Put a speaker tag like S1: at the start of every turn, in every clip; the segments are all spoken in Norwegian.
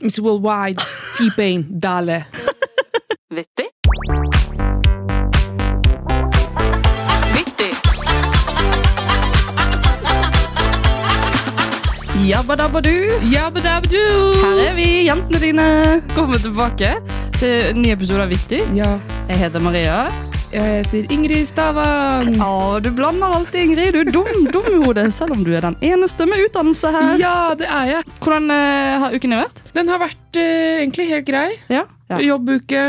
S1: Miss Worldwide, T-Pain, Dale.
S2: Vittig. Vittig.
S3: Jabbadabbadu! Her
S1: Jabbadabdu!
S3: er vi, jentene dine! Kommer tilbake til en ny episode av Vittig.
S1: Ja,
S3: Jeg heter Maria.
S1: jeg heter Ingrid Stavang.
S3: Å, du blander alltid, Ingrid. Du er dum, dum i hodet, selv om du er den eneste med utdannelse her.
S1: Ja, det er jeg.
S3: Hvordan eh, har uken din vært?
S1: Den har vært eh, egentlig helt grei.
S3: Ja. ja.
S1: Jobbuke.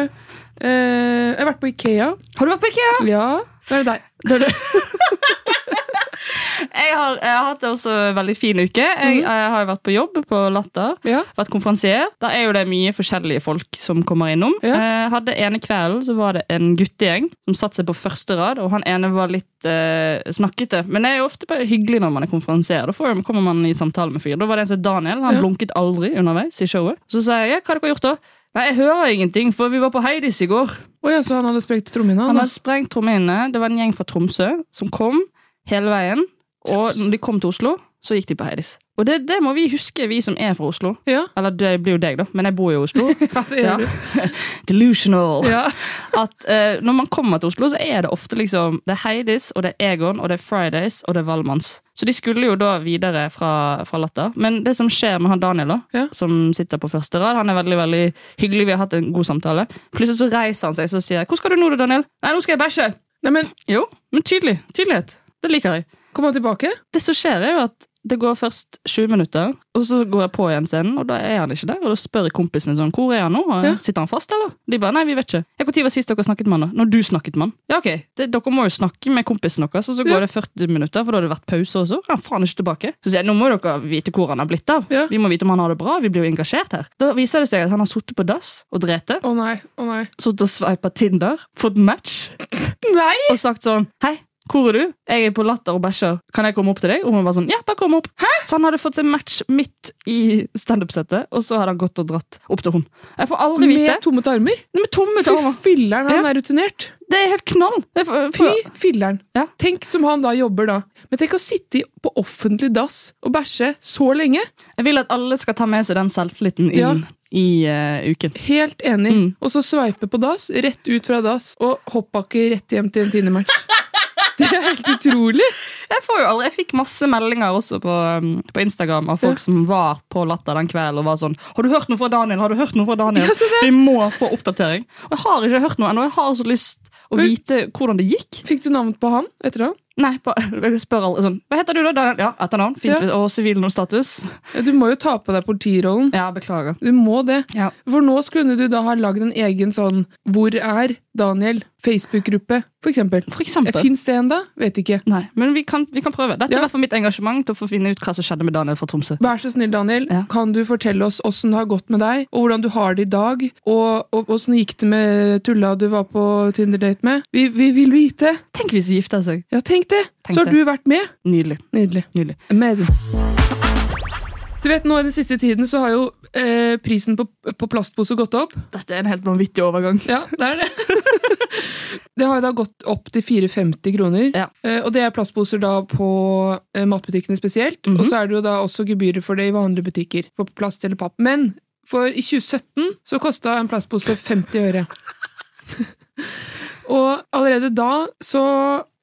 S1: Eh, jeg har vært på Ikea.
S3: Har du vært på IKEA?
S1: Ja, da er det deg.
S3: Det er det. jeg, har, jeg har hatt det også en veldig fin uke. Jeg, jeg har jo vært på jobb på Latter.
S1: Mhm. Ja.
S3: vært konferansier. Der er jo det mye forskjellige folk som kommer innom.
S1: Ja.
S3: Eh, hadde ene kvelden så var det en guttegjeng som satte seg på første rad, og han ene var litt eh, snakkete. Men det er jo ofte bare hyggelig når man er konferansier. Da får, kommer man i samtale med fyr. Da var det en som het Daniel. Han
S1: Ja.
S3: blunket aldri underveis i showet. Så sa jeg ja, hva har dere gjort da? Nei, jeg hører ingenting, for vi var på Heidis i går.
S1: Å ja, så han hadde sprengt trommehinna?
S3: Han
S1: Han
S3: hadde sprengt trommehinnene. Det var en gjeng fra Tromsø som kom hele veien. Og når de kom til Oslo, så gikk de på Heidis. Og det, det må vi huske, vi som er fra Oslo.
S1: Ja.
S3: Eller det blir jo deg, da, men jeg bor jo i Oslo.
S1: Ja, det gjør
S3: Ja.
S1: du.
S3: Delusional.
S1: Ja.
S3: At eh, Når man kommer til Oslo, så er det ofte liksom Det er Heidis, og det er Egon, og det er Fridays, og det er Valmanns. Så de skulle jo da videre fra, fra Latter. Men det som skjer med han Daniel, da,
S1: Ja.
S3: som sitter på første rad Han er veldig veldig hyggelig, vi har hatt en god samtale. Plutselig så reiser han seg så sier jeg, 'Hvor skal du nå, da, Daniel?' 'Nei, nå skal jeg bæsje'.
S1: Nei, men
S3: Jo, men tydelig. Tydelighet. Det liker jeg.
S1: kom han tilbake?
S3: Det som skjer, er jo at det går først 20 minutter, og så går jeg på igjen scenen, og da er han ikke der. Og da spør jeg kompisene sånn, hvor er han nå?
S1: Ja.
S3: Sitter han fast, eller? De bare, nei, vi vet ikke. Ja, hvor tid var sist dere snakket med han da? Når du snakket med han. Ja, ok. Det, dere må jo snakke med kompisen deres, og så
S1: Ja.
S3: går det 40 minutter, for da har det vært pause også. Ja, faen ikke tilbake. Så sier jeg, nå må dere vite hvor han har blitt av.
S1: Ja.
S3: Vi må vite om han har det bra, vi blir jo engasjert her. Da viser det seg at han har suttet på dass og drete,
S1: Å nei. Å nei.
S3: suttet og sveipet Tinder, fått match
S1: Nei!
S3: og sagt sånn Hei, hvor er du? Jeg er på latter og bæsjer. Kan jeg komme opp til deg? Og hun var sånn, ja, bare kom opp. Så han hadde fått seg match midt i standup-settet, og så hadde han gått og dratt opp til hun. Jeg får aldri vite.
S1: Med tomme tarmer?
S3: Med tomme
S1: Fy
S3: tarmer.
S1: filler'n, han
S3: Ja.
S1: er rutinert.
S3: Det er helt knall. Det er for-
S1: Fy
S3: for-
S1: filler'n.
S3: Ja.
S1: Tenk som han da jobber, da. Men tenk å sitte i- på offentlig dass og bæsje så lenge.
S3: Jeg vil at alle skal ta med seg den selvtilliten inn
S1: Ja.
S3: i eh, uken.
S1: Helt enig.
S3: Mm.
S1: Og så sveipe på dass, rett ut fra dass, og hoppbakke rett hjem til en Tinder-match. Det er helt utrolig!
S3: Jeg, får jo aldri, jeg fikk masse meldinger også på, um, på Instagram av folk
S1: Ja.
S3: som var på Latter den kvelden og var sånn 'Har du hørt noe fra Daniel?' Har du hørt noe fra Daniel?
S1: Ja, så det-
S3: Vi må få oppdatering. Og jeg har ikke hørt noe ennå. Jeg har så lyst å
S1: Men-
S3: vite hvordan det gikk.
S1: Fikk du navn på han etter han?
S3: Nei, på, jeg spør alle sånn Hva heter du da? Daniel? Ja, etternavn. Fint. Og sivilnavnstatus.
S1: Ja, Du må jo ta på deg politirollen.
S3: Ja, beklager.
S1: Du må det.
S3: Ja.
S1: For nå skulle du da ha lagd en egen sånn Hvor er Daniel? Facebook-gruppe, for eksempel.
S3: For eksempel.
S1: Fins det ennå? Vet ikke.
S3: Nei, men vi kan, vi kan prøve. Dette
S1: Ja.
S3: er i hvert fall mitt engasjement til å få finne ut hva som skjedde med Daniel fra Tromsø.
S1: Vær så snill, Daniel,
S3: Ja.
S1: kan du fortelle oss åssen det har gått med deg, og hvordan du har det i dag, og og åssen gikk det med tulla du var på Tinder-date med? Vi, vi vil vite!
S3: Tenk hvis de gifter seg.
S1: Ja, tenk det!
S3: Tenk
S1: så har
S3: det.
S1: du vært med.
S3: Nydelig.
S1: Nydelig.
S3: Nydelig.
S1: Amazing. Du vet, nå I den siste tiden så har jo eh, prisen på, på plastposer gått opp.
S3: Dette er en helt vanvittig overgang.
S1: Ja, Det er det. det har jo da gått opp til 4,50 kroner.
S3: Ja.
S1: Eh, og det er plastposer da på eh, matbutikkene spesielt.
S3: Mhm.
S1: Og så er det jo da også gebyrer for det i vanlige butikker. For plast eller papp. Men for i 2017 så kosta en plastpose 50 øre. Og allerede da så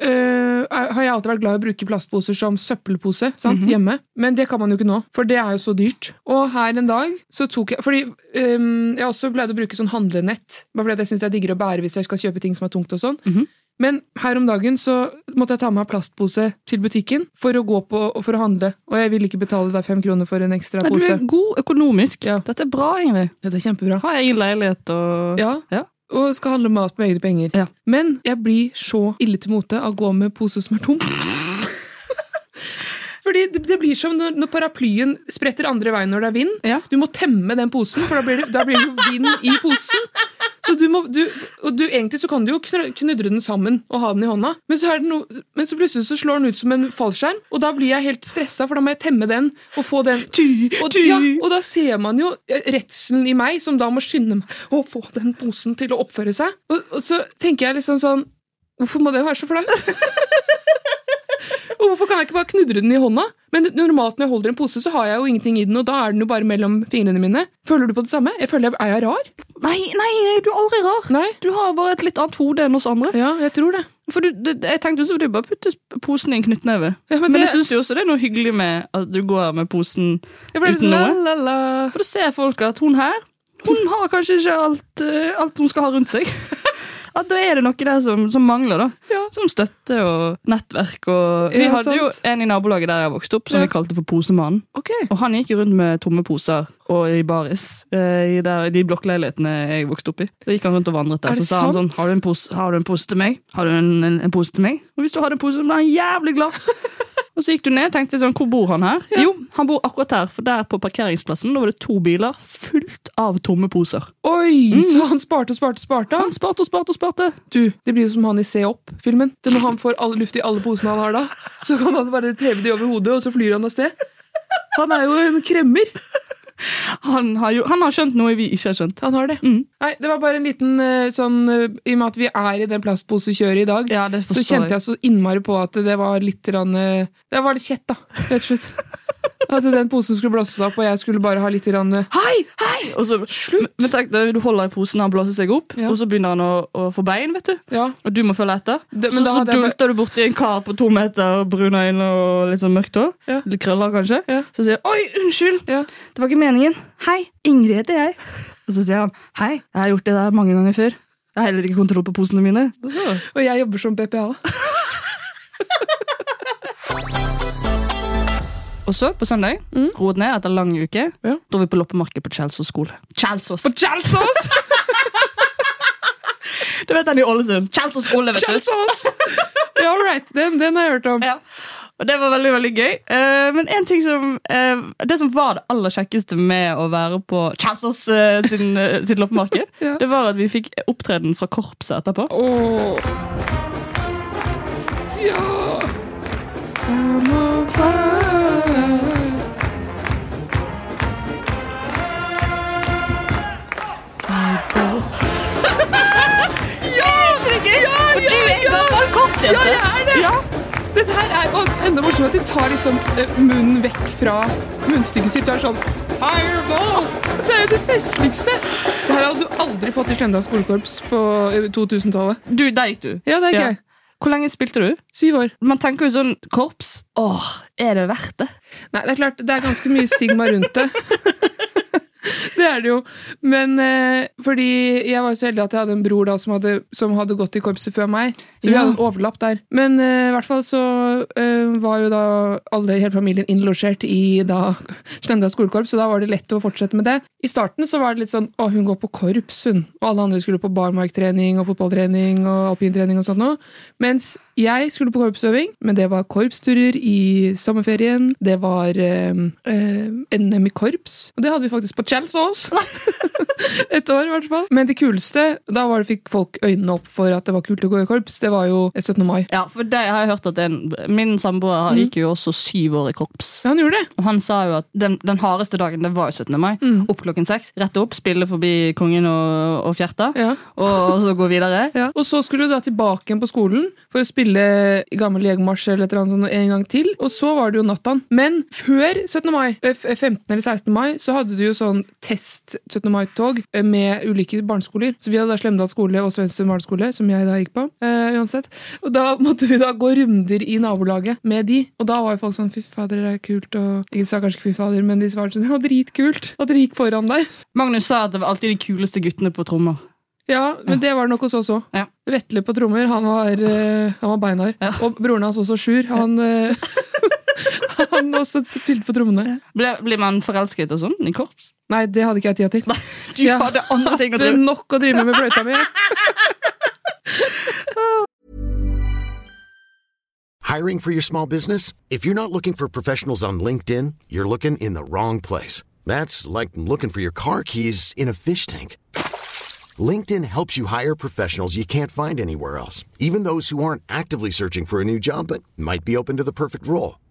S1: øh, er- har jeg alltid vært glad i å bruke plastposer som søppelpose sant,
S3: Mhm.
S1: hjemme. Men det kan man jo ikke nå, for det er jo så dyrt. Og her en dag så tok jeg Fordi øhm, jeg også pleide å bruke sånn handlenett. Bare fordi at jeg syns det er diggere å bære hvis jeg skal kjøpe ting som er tungt og sånn.
S3: Mhm.
S1: Men her om dagen så måtte jeg ta med meg plastpose til butikken for å gå på og for å handle. Og jeg ville ikke betale da fem kroner for en ekstra
S3: Nei, du
S1: pose.
S3: er god økonomisk.
S1: Ja.
S3: Dette er bra, Ingrid.
S1: Dette er kjempebra.
S3: Har jeg egen leilighet og
S1: Ja.
S3: Ja.
S1: Og skal handle mat med egne penger.
S3: Ja.
S1: Men jeg blir så ille til mote av å gå med pose som er tom. Fordi det, det blir som når, når paraplyen spretter andre veien når det er vind.
S3: Ja.
S1: Du må temme den posen, for da blir det, da blir det jo vind i posen. Så du må, du, og du, egentlig så kan du jo knø- knudre den sammen og ha den i hånda, men så, er det no, men så plutselig så slår den ut som en fallskjerm, og da blir jeg helt stressa, for da må jeg temme den og få den og, ja, og da ser man jo eh, redselen i meg, som da må skynde meg å få den posen til å oppføre seg. Og, og så tenker jeg liksom sånn Hvorfor må det være så flaut? Og hvorfor kan jeg ikke bare knudre den i hånda? Men normalt når jeg holder en pose, så har jeg jo ingenting i den, og da er den jo bare mellom fingrene mine. Føler du på det samme? Jeg føler jeg er jeg rar?
S3: Nei, nei, nei, du er aldri rar.
S1: Nei.
S3: Du har bare et litt annet hode enn oss andre.
S1: Ja, jeg tror det.
S3: For du, det, jeg tenkte også at du bare putter posen i en knyttneve.
S1: Ja, men
S3: men
S1: det-
S3: jeg syns jo også det er noe hyggelig med at du går her med posen.
S1: Jeg ble litt
S3: Uten
S1: la,
S3: noe?
S1: la, la.
S3: For da ser folk at hun her, hun har kanskje ikke alt, eh, alt hun skal ha rundt seg. At da er det noe der som, som mangler, da.
S1: Ja.
S3: Som støtte og nettverk og Vi
S1: Ja,
S3: hadde jo
S1: sant.
S3: en i nabolaget der jeg vokste opp, som
S1: Ja.
S3: vi kalte for Posemannen.
S1: Ok.
S3: Og han gikk jo rundt med tomme poser og i baris eh, i der, de blokkleilighetene jeg vokste opp i. Så gikk han rundt og vandret
S1: Er
S3: der.
S1: det
S3: Så sa han sånn
S1: sant?
S3: har du, en pose, 'Har du en pose til meg?' 'Har du en, en, en pose til meg?' Og hvis du hadde en pose, så ble han jævlig glad. og så gikk du ned og tenkte sånn 'Hvor bor han her?' Jo, han bor akkurat her, for der på parkeringsplassen da var det to biler fullt av tomme poser.
S1: Oi, så han sparte og sparte og sparte.
S3: Han sparte og sparte og sparte.
S1: Du, det blir jo som han i Se opp-filmen. Det er Når han får all, luft i alle posene han har da, så kan han bare heve de over hodet, og så flyr han av sted. Han er jo en kremmer.
S3: Han har, jo, han har skjønt noe vi ikke har skjønt. Mm.
S1: Han har det. Nei, det var bare en liten eh, sånn eh, I og med at vi er i den plastposekjøret i dag,
S3: Ja, det
S1: så kjente jeg så innmari på at det var litt rann, eh, Det var litt kjett, da, rett og slett. At den posen skulle blåses opp, og jeg skulle bare ha litt rann, eh,
S3: Hei, hei! Og så, Slutt! Men tenk, da, du holder i posen, han blåser seg opp,
S1: Ja.
S3: og så begynner han å, å få bein, vet du.
S1: Ja.
S3: Og du må følge etter.
S1: Det- men
S3: så
S1: da
S3: så
S1: hadde jeg bare-
S3: dulter du borti en kar på to meter, brune øyne og litt sånn mørkt hår.
S1: Ja.
S3: Litt krøller, kanskje.
S1: Ja.
S3: Så sier jeg 'oi, unnskyld'.
S1: ja.
S3: Det var ikke meningen. Hei, Ingrid heter jeg. Og så sier han 'hei, jeg har gjort det der mange ganger før'. Jeg har heller ikke kontroll på posene mine. Og så
S1: Og jeg jobber som BPA.
S3: Og så, på søndag, roet ned etter lang uke.
S1: Ja.
S3: Da var vi på loppemarked på Kjelsås skole. Kjelsås!
S1: Kjelsås!
S3: Du vet den i Ålesund. Kjelsås skole, vet du.
S1: Kjelsås! Ja, all right. Den, den har jeg hørt om.
S3: Ja. Og det var veldig, veldig gøy. Eh, men en ting som, eh, det som var det aller kjekkeste med å være på Kjelsås eh, sin, eh, sitt loppemarked,
S1: Ja.
S3: det var at vi fikk opptreden fra korpset etterpå.
S1: Åh. Ja I'm on fire.
S3: Er ikke det gøy? Ja, For du er jo gammel korpsjente.
S1: Ja, jeg er det.
S3: Ja.
S1: Dette her er og enda morsomt at de tar liksom eh, munnen vekk fra munnstykket sitt og er sånn Fireball! Det er jo det festligste! Det her hadde du aldri fått i Slemdal skolekorps på eh, 2000-tallet.
S3: Du, der gikk du.
S1: Ja, det er
S3: Ja.
S1: gøy.
S3: Hvor lenge spilte du?
S1: Syv år.
S3: Man tenker jo sånn korps. Åh, er det verdt det?
S1: Nei, det er klart, det er ganske mye stigma rundt det. Det er det jo. Men eh, fordi jeg var jo så heldig at jeg hadde en bror da som hadde, som hadde gått i korpset før meg. Så vi
S3: Ja.
S1: hadde en overlapp der. Men eh, i hvert fall så eh, var jo da alle i hele familien innlosjert i da Slemdal skolekorps, så da var det lett å fortsette med det. I starten så var det litt sånn å, hun går på korps, hun. Og alle andre skulle på barmarktrening og fotballtrening og alpintrening og sånt noe. Mens jeg skulle på korpsøving, men det var korpsturer i sommerferien. Det var eh, eh, NM i korps, og det hadde vi faktisk på Kjelsås. Et år, i hvert fall. Men det kuleste, da var det, fikk folk øynene opp for at det var kult å gå i korps, det var jo 17. mai.
S3: Ja, for det har jeg hørt at en, Min samboer
S1: Mm.
S3: han gikk jo også syv år i korps.
S1: Ja, han gjorde det.
S3: Og han sa jo at den, den hardeste dagen det var jo 17. mai.
S1: Mm.
S3: Opp klokken seks, rett opp, spille forbi kongen og, og fjerta,
S1: Ja.
S3: og, og så gå videre.
S1: Ja. Og så skulle du da tilbake igjen på skolen for å spille gammel jegermarsj eller et eller annet sånt en gang til. Og så var det jo nattan. Men før 17. mai, eh, f- 15. eller 16. mai, så hadde du jo sånn test 17. mai-tog eh, med ulike barneskoler. Så vi hadde da Slemdal skole og Svendsen barneskole, som jeg da gikk på. eh, uansett. Og da måtte vi da gå runder i nabolaget med de. Og da var jo folk sånn fy fader, det er kult, og de sa kanskje ikke fy fader, men de svarte sånn det var dritkult at dere gikk foran der.
S3: Magnus sa at det var alltid de kuleste guttene på trommer.
S1: Ja, men det var det nok hos oss òg.
S3: Ja.
S1: Vetle på trommer, han var, eh, han var beinhard.
S3: Ja.
S1: Og broren hans også, Sjur, han, eh, han også spilte på trommene.
S3: Ble, blir man forelsket og sånn i korps?
S1: Nei, det hadde ikke jeg tida til.
S3: Du
S1: Ja.
S3: hadde andre ting å
S1: Det er
S3: drive
S1: nok å drive med med fløyta mi.
S2: Hiring for your small business? If you're not looking for professionals on LinkedIn, you're looking in the wrong place. That's like looking for your car keys in a fish tank. LinkedIn helps you hire professionals you can't find anywhere else, even those who aren't actively searching for a new job but might be open to the perfect role.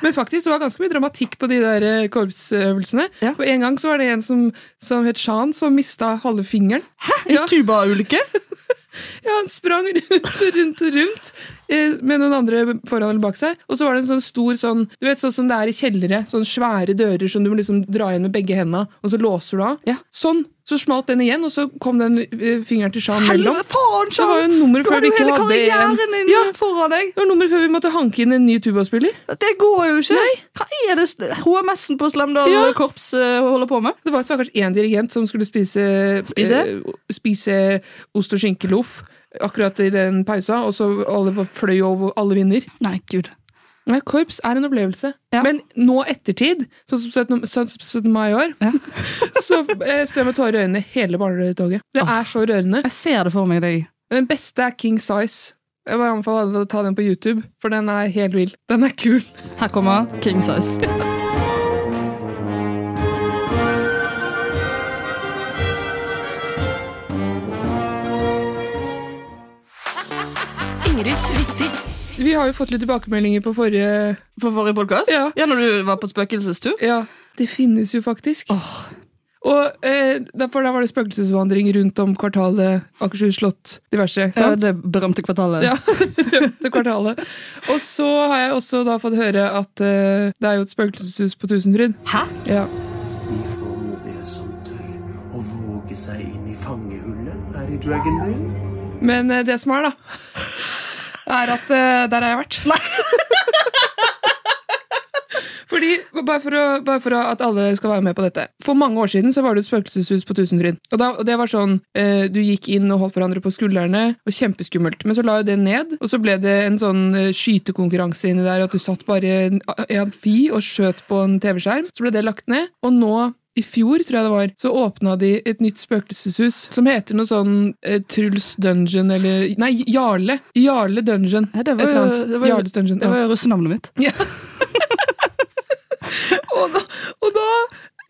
S1: Men faktisk, det var ganske mye dramatikk på de der eh, korpsøvelsene.
S3: Ja.
S1: For en gang så var det en som, som het Shan, som mista halve fingeren.
S3: I
S1: Ja.
S3: tubaulykke?
S1: Ja, han sprang rundt og rundt og rundt eh, med noen andre foran eller bak seg. Og så var det en sånn stor sånn Du vet sånn som det er i kjellere. Sånn svære dører som du må liksom dra igjen med begge hendene, og så låser du av.
S3: Ja.
S1: Sånn. Så smalt den igjen, og så kom den eh, fingeren til Shan mellom.
S3: Helvete, faen,
S1: Det var jo nummeret før vi ikke
S3: Du hadde
S1: hadde
S3: jo hele
S1: en-
S3: karrieren din
S1: Ja.
S3: foran deg.
S1: Det var nummeret før vi måtte hanke inn en ny tubaspiller.
S3: Det går jo ikke. Hva er det s- HMS-en på Slemdal
S1: Ja.
S3: korps eh, holder på med?
S1: Det var stakkars én dirigent som skulle spise
S3: Spise?
S1: eh, spise ost og skinkeloff akkurat i den pausa, og så alle var- fløy over alle vinder.
S3: Nei, gud.
S1: Nei, korps er en opplevelse.
S3: Ja.
S1: Men nå ettertid, sånn som 17. sånn som 17. mai i år, så eh, står jeg med tårer i øynene hele barnetoget. Det er så rørende.
S3: Jeg ser det for meg deg.
S1: Den beste er King Size. Jeg vil anbefale alle å ta den på YouTube, for den er helt vill. Den er kul.
S3: Her kommer King Size.
S1: Vi har jo fått litt tilbakemeldinger på forrige
S3: På forrige podkast?
S1: Ja.
S3: ja, når du var på spøkelsestur?
S1: Ja, det finnes jo faktisk. Og eh, derfor der var det spøkelsesvandring rundt om kvartalet, Akershus slott, diverse.
S3: Ja,
S1: Sant?
S3: det berømte kvartalet.
S1: Ja, rømte kvartalet. Og så har jeg også da fått høre at eh, det er jo et spøkelseshus på Tusenfryd.
S4: Hæ?
S1: Ja.
S5: Ifra HB-Sandtøy og våge seg inn i fangehullet her i Dragonville.
S1: Men eh, det som er, da, er at eh, der har jeg vært. Fordi, bare for, å, bare for å, at alle skal være med på dette For mange år siden så var det et spøkelseshus på Tusenfryd. Og, da, og det var sånn eh, Du gikk inn og holdt hverandre på skuldrene, og kjempeskummelt. Men så la jo det ned, og så ble det en sånn eh, skytekonkurranse inni der. At du satt bare i en a- i amfi og skjøt på en TV-skjerm. Så ble det lagt ned. Og nå i fjor, tror jeg det var, så åpna de et nytt spøkelseshus som heter noe sånn eh, Truls Dungeon eller Nei, Jarle. Jarle Dungeon.
S3: Ja, det var
S1: Et eller
S3: jo-
S1: annet.
S3: det var jo-
S1: Jarles Dungeon.
S3: Det var jo russenavnet mitt.
S1: Og da, og da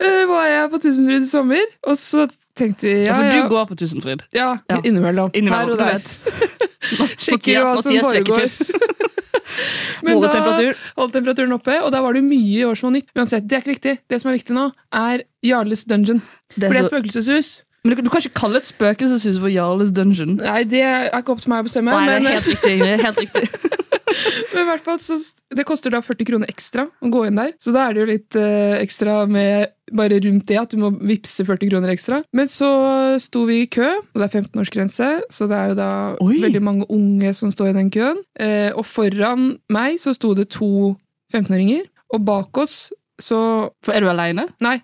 S1: eh, var jeg på Tusenfryd i sommer, og så tenkte vi ja,
S3: for
S1: ja,
S3: du går på Tusenfryd.
S1: ja,
S3: Ja.
S1: innimellom.
S3: Innimellom, du
S1: Her og
S3: vet.
S1: der. Sjekker jo hva som
S3: Mathias sjekker
S1: foregår. Men
S3: Måler
S1: da
S3: temperatur.
S1: holdt temperaturen oppe, og da var det mye i år som var nytt. Uansett, det er ikke viktig. Det som er viktig nå, er Jarles Dungeon. For
S3: Det er
S1: det er
S3: så-
S1: spøkelseshus.
S3: Men du, du kan ikke kalle et spøkelseshus for Jarles Dungeon.
S1: Nei, det er ikke opp til meg å bestemme.
S3: Nei,
S1: men,
S3: det er helt riktig. Det er helt riktig.
S1: Men i hvert fall, så Det koster da 40 kroner ekstra å gå inn der, så da er det jo litt eh, ekstra med bare rundt det at du må vippse 40 kroner ekstra. Men så sto vi i kø, og det er 15-årsgrense, så det er jo da
S3: Oi.
S1: veldig mange unge som står i den køen. Eh, og foran meg så sto det to 15-åringer, og bak oss så
S3: For er du aleine?
S1: Nei,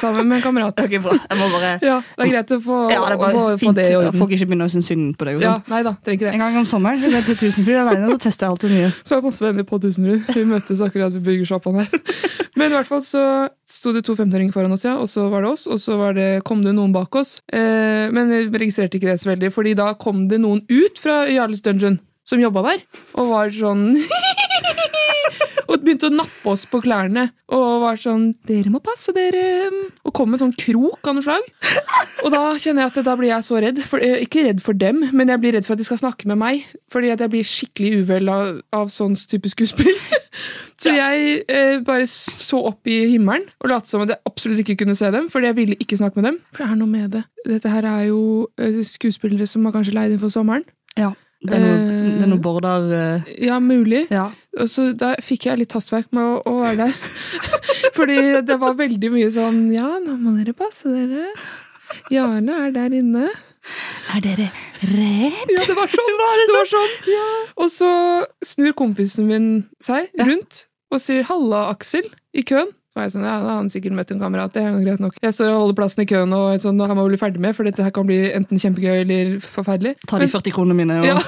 S1: sammen med en kamerat.
S3: bra. Jeg må bare
S1: Ja, det er greit å få,
S3: Ja, det er bare
S1: å få, få
S3: fint.
S1: det i
S3: Folk
S1: orden.
S3: ikke begynner å synes synd på deg. og
S1: Ja,
S3: sånn.
S1: nei da, trenger ikke det.
S3: En gang om sommeren jeg går til Tusenfryd alene, så tester jeg alltid nye.
S1: Så har jeg masse venner på Tusenrud. Vi møttes akkurat ved burgersjappaen her. Men i hvert fall så sto det to 15-åringer foran oss, ja, og så var det oss, og så var det, kom det noen bak oss. Eh, men jeg registrerte ikke det så veldig, fordi da kom det noen ut fra Jarles Dungeon som jobba der, og var sånn Og begynte å nappe oss på klærne og var sånn 'Dere må passe dere!' Og kom med en sånn krok av noe slag. Og da kjenner jeg at da blir jeg så redd. For, eh, ikke redd for dem, men jeg blir redd for at de skal snakke med meg. Fordi at jeg blir skikkelig uvel av, av sånn type skuespill. Så jeg eh, bare så opp i himmelen og lot som at jeg absolutt ikke kunne se dem. Fordi jeg ville ikke snakke med dem. For det er noe med det. Dette her er jo eh, skuespillere som har kanskje leid inn for sommeren.
S3: Ja, det er noe, det er noe border eh,
S1: Ja, mulig.
S3: Ja.
S1: Og så da fikk jeg litt hastverk med å, å være der. Fordi det var veldig mye sånn Ja, nå må dere passe dere. Jarle er der inne.
S3: Er dere redd?
S1: Ja, det var sånn. Det var sånn. Og så snur kompisen min seg rundt og sier 'halla, Aksel' i køen. Så var jeg sånn, ja, da har han sikkert møtt en kamerat, det er jo greit nok. Jeg står og holder plassen i køen og er sånn, det her må jeg bli ferdig med, for dette her kan bli enten kjempegøy eller forferdelig.
S3: Ta de 40 kronene mine og
S1: Ja,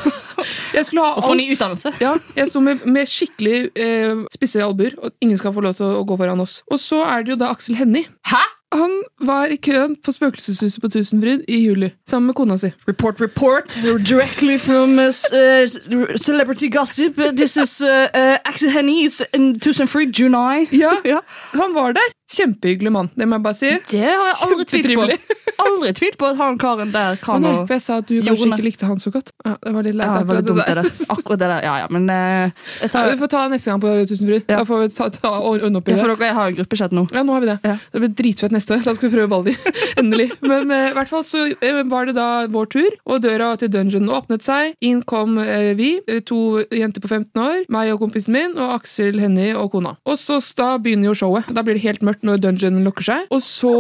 S1: Jeg skulle ha
S3: Og få ny
S1: alt.
S3: utdannelse.
S1: Ja, jeg sto med, med skikkelig eh, spisse albuer, og ingen skal få lov til å, å gå foran oss. Og så er det jo da Aksel Hennie.
S3: Hæ?
S1: Han var i køen på Spøkelseshuset på Tusenfryd i juli, sammen med kona si.
S3: Report, report, directly from uh, s- uh, celebrity gossip. This is uh, uh, Axel Hennies in Tusenfryd, Junai.
S1: Ja, Han var der. Kjempehyggelig mann, det må jeg bare si.
S3: Det har jeg aldri tvilt på.
S1: Kjempetrivelig.
S3: Aldri tvilt på at han karen der
S1: Å
S3: kan
S1: nei,
S3: å
S1: for jeg sa at du kanskje
S3: Jorunn.
S1: ikke likte han så godt. Ja, det var litt leit.
S3: Ja, det var
S1: akkurat
S3: litt dumt, det
S1: der.
S3: der. Akkurat det der. Ja, ja, men eh, jeg
S1: Ja,
S3: tar,
S1: vi får ta neste gang på Tusenfryd.
S3: Ja.
S1: Da får vi ta, ta og ordne opp i
S3: ja,
S1: det.
S3: for dere, jeg har en gruppechat nå.
S1: Ja, nå har vi det.
S3: Ja.
S1: Det blir dritfett neste år. Da skal vi prøve Baldi. Endelig. Men eh, i hvert fall så eh, var det da vår tur, og døra til dungeonen åpnet seg. Inn kom eh, vi, eh, to jenter på 15 år, meg og kompisen min, og Aksel, Henny og kona. Og så s- da begynner jo showet. Da blir det helt mørkt når dungeonen lukker seg. Og så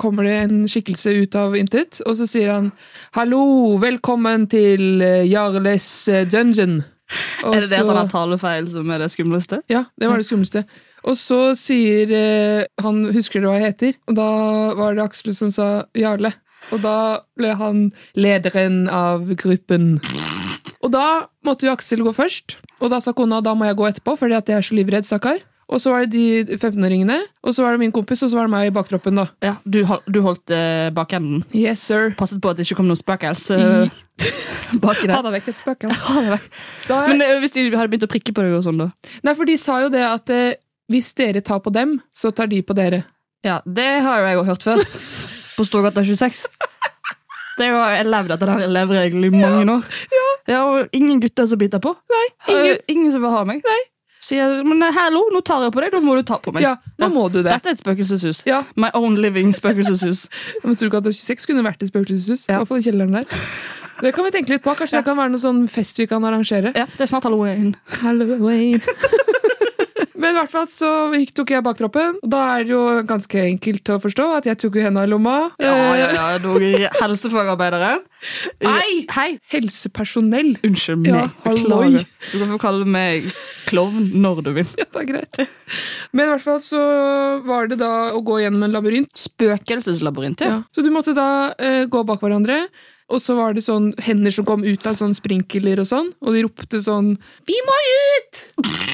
S1: kommer det en skikkelse ut av intet, og så sier han 'Hallo, velkommen til eh, Jarles eh, dungeon'. Og
S3: Er det det at
S1: så-
S3: han har talefeil som er det skumleste?
S1: ja, det var det skumleste. Og så sier eh, han Husker du hva jeg heter? Og da var det Aksel som sa Jarle. Og da ble han lederen av gruppen. Og da måtte jo Aksel gå først. Og da sa kona da må jeg gå etterpå, fordi at jeg er så livredd, stakkar. Og så var det de 15-åringene, og så var det min kompis, og så var det meg i baktroppen, da.
S3: Ja, du, hol- du holdt eh, bakenden.
S1: Yes, sir.
S3: Passet på at det ikke kom noe spøkels eh, baki
S1: Ha
S3: der.
S1: deg vekk, et spøk.
S3: Ha det vekk.
S1: Da-
S3: Men eh, hvis de hadde begynt å prikke på deg og sånn, da?
S1: Nei, for de sa jo det at eh, hvis dere tar på dem, så tar de på dere.
S3: Ja, det har jo jeg også hørt før. På Storgata 26. Det var, jeg levde etter den elevregelen i mange år. Ja. og ingen gutter som biter på. Nei,
S1: ingen.
S3: ingen som vil ha meg.
S1: Nei.
S3: Sier men hallo, nå tar jeg på deg, da må du ta på meg.
S1: Ja, nå må du det.
S3: Dette er et spøkelseshus.
S1: Ja.
S3: My own living spøkelseshus.
S1: Men tror du ikke at 26 kunne vært et spøkelseshus? I
S3: Ja.
S1: hvert fall i kjelleren der. Det kan vi tenke litt på. Kanskje det kan være noe sånn fest vi kan arrangere.
S3: ja, det er snart halloween.
S1: Halloween. Men i hvert fall så gikk, tok jeg baktroppen. Og da er det jo ganske enkelt å forstå at jeg tok jo henda i lomma.
S3: Ja, ja, ja, dere helsefagarbeideren.
S1: Nei!
S3: Hei!
S1: Eh, Helsepersonell.
S3: Unnskyld meg.
S1: Ja, halloi.
S3: Beklager. Du kan få kalle meg klovn når du vil.
S1: Ja, det er greit. Men i hvert fall så var det da å gå gjennom en labyrint.
S3: Spøkelseslabyrintet.
S1: Ja. Så du måtte da eh, gå bak hverandre, og så var det sånn hender som kom ut av sånn sprinkler og sånn, og de ropte sånn Vi må ut!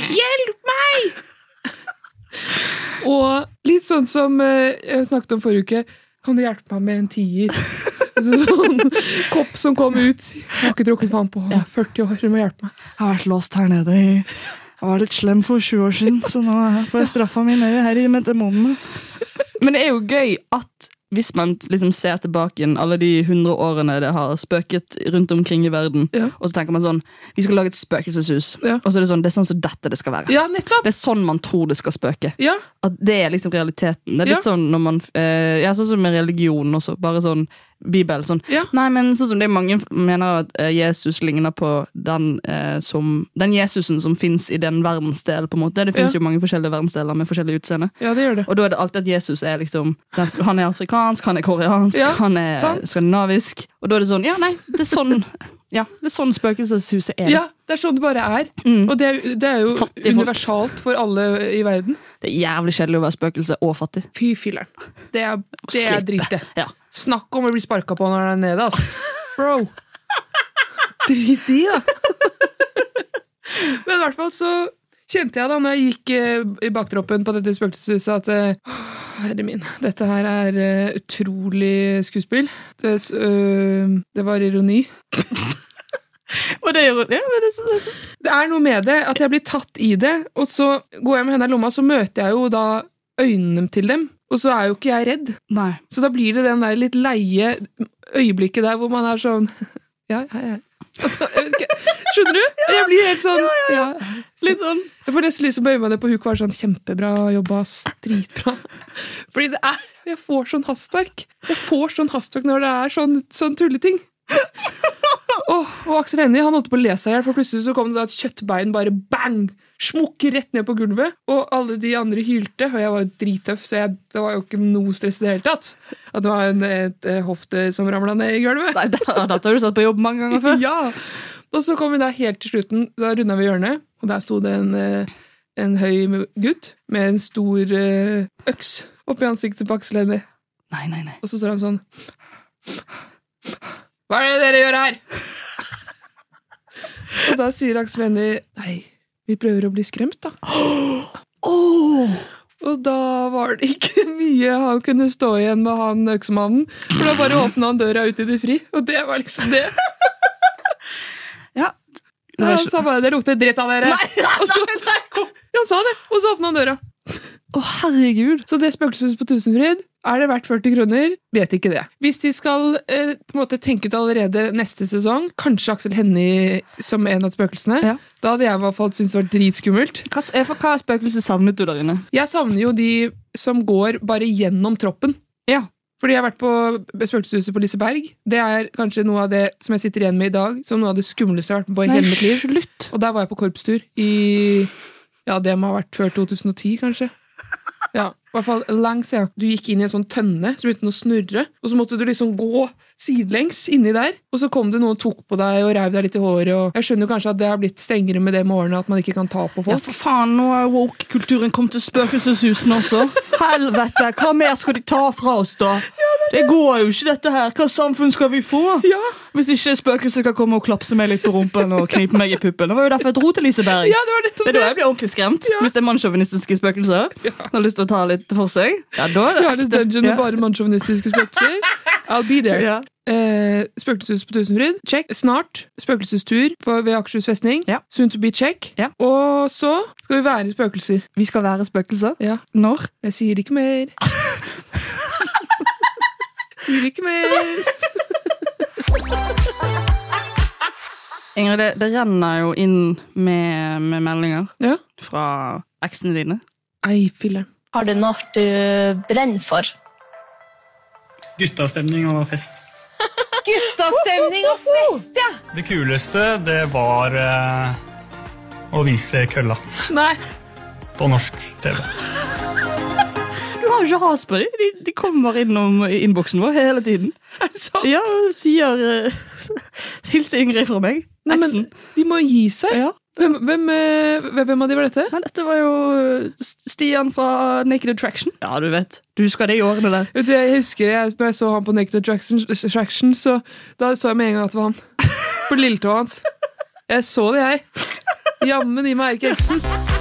S1: Hjelp meg! og litt sånn som eh, jeg snakket om forrige uke, kan du hjelpe meg med en tier? Altså sånn kopp som kom ut. Jeg har ikke drukket vann på 40 år, du må hjelpe meg.
S3: Jeg har vært låst her nede i Jeg var litt slem for 20 år siden, så nå får jeg straffa mi nede her i med demonene. Men det er jo gøy at hvis man liksom ser tilbake igjen alle de 100 årene det har spøket rundt omkring i verden,
S1: Ja.
S3: og så tenker man sånn Vi skal lage et spøkelseshus.
S1: Ja.
S3: Og så er det sånn det er sånn som dette det skal være.
S1: Ja, nettopp!
S3: Det er sånn man tror det skal spøke.
S1: Ja,
S3: At det er liksom realiteten. Det er litt
S1: Ja.
S3: sånn når man eh, Ja, sånn som med religion også. Bare sånn Bibel. Sånn.
S1: Ja.
S3: Nei, men sånn som det er mange mener at eh, Jesus ligner på den eh, som Den Jesusen som fins i den verdensdelen, på en måte. Det fins
S1: Ja.
S3: jo mange forskjellige verdensdeler med forskjellig utseende.
S1: ja det gjør det.
S3: Og da er det alltid at Jesus er liksom den- Han er afrikansk, han er koreansk,
S1: Ja,
S3: han er
S1: sant.
S3: skandinavisk. Og da er det sånn Ja, nei, det er sånn Ja, det er sånn spøkelseshuset er.
S1: Ja, Det er sånn det bare er. Og det er, det er jo
S3: Fattige folk.
S1: universalt for alle i verden.
S3: Det er jævlig kjedelig å være spøkelse og fattig.
S1: Fy filleren. Det er, det er
S3: Slippe.
S1: drit, det.
S3: Ja.
S1: Snakk om å bli sparka på når du er nede, ass. Bro. Drit i, da. Men i hvert fall så kjente jeg da når jeg gikk eh, i baktroppen på dette spøkelseshuset at eh, «Åh, Herre min, dette her er eh, utrolig skuespill. Det, s- øh, det var ironi.
S3: Og det gjør hun. Ja, men det, er så-
S1: Det er noe med det, at jeg blir tatt i det, og så går jeg med henda i lomma, så møter jeg jo da øynene til dem, og så er jo ikke jeg redd.
S3: Nei.
S1: Så da blir det den der litt leie øyeblikket der hvor man er sånn Ja, ja, ja. Altså, jeg vet ikke. Skjønner du? Jeg blir helt sånn ja.
S3: Litt sånn
S1: Jeg får nesten lyst til å bøye meg ned på huk og være sånn Kjempebra jobba, ass. Dritbra. Fordi det er Jeg får sånn hastverk. Jeg får sånn hastverk når det er sånn, sånn tulleting. Åh, og Aksel Hennie han holdt på å le seg i hjel, for plutselig så kom det da et kjøttbein bare bang! Smukk rett ned på gulvet, og alle de andre hylte. Og jeg var jo drittøff, så jeg, det var jo ikke noe stress i det hele tatt. At det var en et, eh, hofte som ramla ned i gulvet.
S3: Nei, da, dette har du satt på jobb mange ganger før.
S1: Ja! Og så kom vi da helt til slutten. Da runda vi hjørnet, og der sto det en, eh, en høy gutt med en stor eh, øks oppi ansiktet på Aksel Hennie.
S3: Nei, nei, nei.
S1: Og så står han sånn Hva er det dere gjør her? Og da sier Aksel Hennie nei, vi prøver å bli skremt, da. Og da var det ikke mye han kunne stå igjen med, han øksemannen. For da bare åpna han døra ut i det fri, og det var liksom det.
S3: Ja.
S1: Ja, han sa bare 'det lukter dritt av dere'. og så, Ja, han sa det, og så åpna han døra.
S3: Å, herregud.
S1: Så det spøkelseshuset på Tusenfryd, er det verdt 40 kroner? Vet ikke det. Hvis de skal eh, på en måte tenke ut allerede neste sesong, kanskje Aksel Hennie som en av spøkelsene,
S3: Ja.
S1: da hadde jeg i hvert fall syntes det var dritskummelt.
S3: Hva, s- eh, for hva spøkelse savnet du der inne?
S1: Jeg savner jo de som går bare gjennom troppen.
S3: Ja.
S1: Fordi jeg har vært på Spøkelseshuset på Liseberg. Det er kanskje noe av det som jeg sitter igjen med i dag, som noe av det skumleste jeg har vært med på i hele mitt liv.
S3: slutt.
S1: Og der var jeg på korpstur i Ja, det må ha vært før 2010, kanskje. Ja, i hvert fall langs, ja. Du gikk inn i en sånn tønne som begynte å snurre, og så måtte du liksom gå sidelengs inni der, og så kom det noen og tok på deg og reiv deg litt i håret, og jeg skjønner jo kanskje at det har blitt strengere med det med årene, at man ikke kan ta på folk.
S3: Ja, for faen, nå er woke-kulturen kommet til spøkelseshusene også. Helvete, hva mer skal de ta fra oss, da? det, går jo ikke, dette her. Hva samfunn skal vi få?
S1: Ja.
S3: Hvis ikke spøkelset skal komme og klapse meg litt på rumpen og knipe meg i puppen. Det var jo derfor jeg dro til Liseberg.
S1: Ja, det var nettopp
S3: Det er da jeg blir ordentlig skremt. Hvis det er mannssjåvinistiske spøkelser som har lyst til å ta litt for seg. Ja, da er
S1: Vi
S3: det
S1: har et dungeon med
S3: Ja.
S1: bare mannssjåvinistiske spøkelser. I'll be there.
S3: Ja.
S1: Eh, spøkelseshus på Tusenfryd, check. Snart spøkelsestur på, ved Akershus festning.
S3: Ja.
S1: Soon to be check.
S3: Ja.
S1: Og så skal vi være spøkelser.
S3: Vi skal være spøkelser.
S1: Ja,
S3: Når?
S1: jeg sier ikke mer. sier ikke mer.
S3: Ingrid, det, det renner jo inn med, med meldinger
S1: Ja.
S3: fra eksene dine.
S1: Ei, filler'n.
S6: Har du noe du brenner for?
S7: Guttastemning og fest.
S6: Guttastemning og fest, ja!
S7: Det kuleste, det var eh, å vise kølla
S3: Nei,
S7: på norsk TV.
S3: du har jo ikke has på dem. De, de kommer innom i innboksen vår hele tiden.
S1: Er det sant?
S3: Ja, og sier uh, Hilser Ingrid fra meg.
S1: Nei, men,
S3: Eksen.
S1: de må gi seg.
S3: Ja.
S1: Hvem, hvem, eh, hvem av de var dette?
S3: Nei, dette var jo eh, Stian fra Naked Attraction. Ja, du vet. Du husker det i årene der.
S1: Vet du, jeg husker jeg, når jeg så han på Naked Attraction, Attraction, så da så jeg med en gang at det var han. På lilletåa hans. Jeg så det, jeg. Jammen i meg er ikke eksen.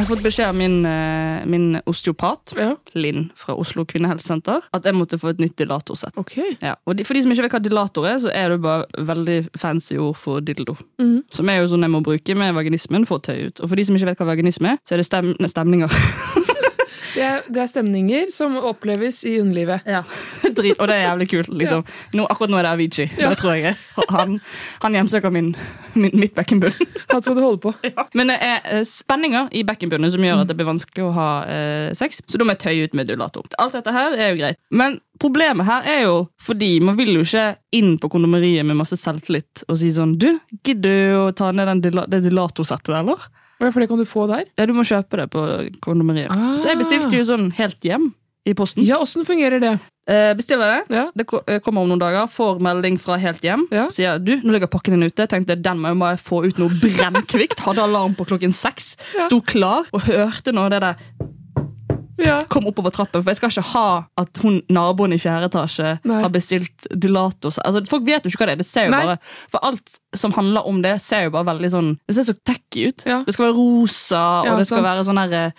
S3: Jeg har fått beskjed av min, eh, min osteopat,
S1: Ja.
S3: Linn fra Oslo kvinnehelsesenter, at jeg måtte få et nytt dilatorsett.
S1: Ok.
S3: Ja, og de, For de som ikke vet hva dilator er, så er det bare veldig fancy ord for dildo. Som er jo sånn jeg må bruke med vaginismen for å tøye ut. Og for de som ikke vet hva vaginisme er, så er det stem nei, stemninger.
S1: Det er, det er stemninger som oppleves i underlivet.
S3: ja. Drit, og det er jævlig kult, liksom. Nå, akkurat nå er det Avicii. Det tror jeg. Han, han hjemsøker min, min, mitt bekkenbunn.
S1: Han skal du holde på.
S3: Men det er eh, spenninger i bekkenbunnen som gjør at det blir vanskelig å ha eh, sex. Så da må jeg tøye ut med dullator. Alt dette her er jo greit. Men problemet her er jo fordi man vil jo ikke inn på kondomeriet med masse selvtillit og si sånn Du, gidder du å ta ned den dilla- det dillatorsettet, eller?
S1: Hva er det For det kan du få der.
S3: Ja, du må kjøpe det på kondomeriet.
S1: Ah.
S3: Så jeg bestilte jo sånn helt hjem i posten.
S1: Ja, åssen fungerer det?
S3: Eh, bestiller det.
S1: Ja.
S3: Det ko- eh, kommer om noen dager, får melding fra Helt hjem.
S1: Ja.
S3: Sier du, nå ligger pakken din ute. Tenkte den må jeg bare få ut noe brennkvikt. Hadde alarm på klokken seks. Sto klar og hørte når det der
S1: Ja.
S3: kom oppover trappen. For jeg skal ikke ha at hun naboen i fjerde etasje
S1: Nei.
S3: har bestilt dilator. Altså, folk vet jo ikke hva det er. Det ser jo
S1: Nei.
S3: bare, for alt som handler om det, ser jo bare veldig sånn Det ser så tacky ut.
S1: Ja.
S3: Det skal være rosa,
S1: Ja,
S3: og det skal
S1: sant.
S3: være sånn her eh,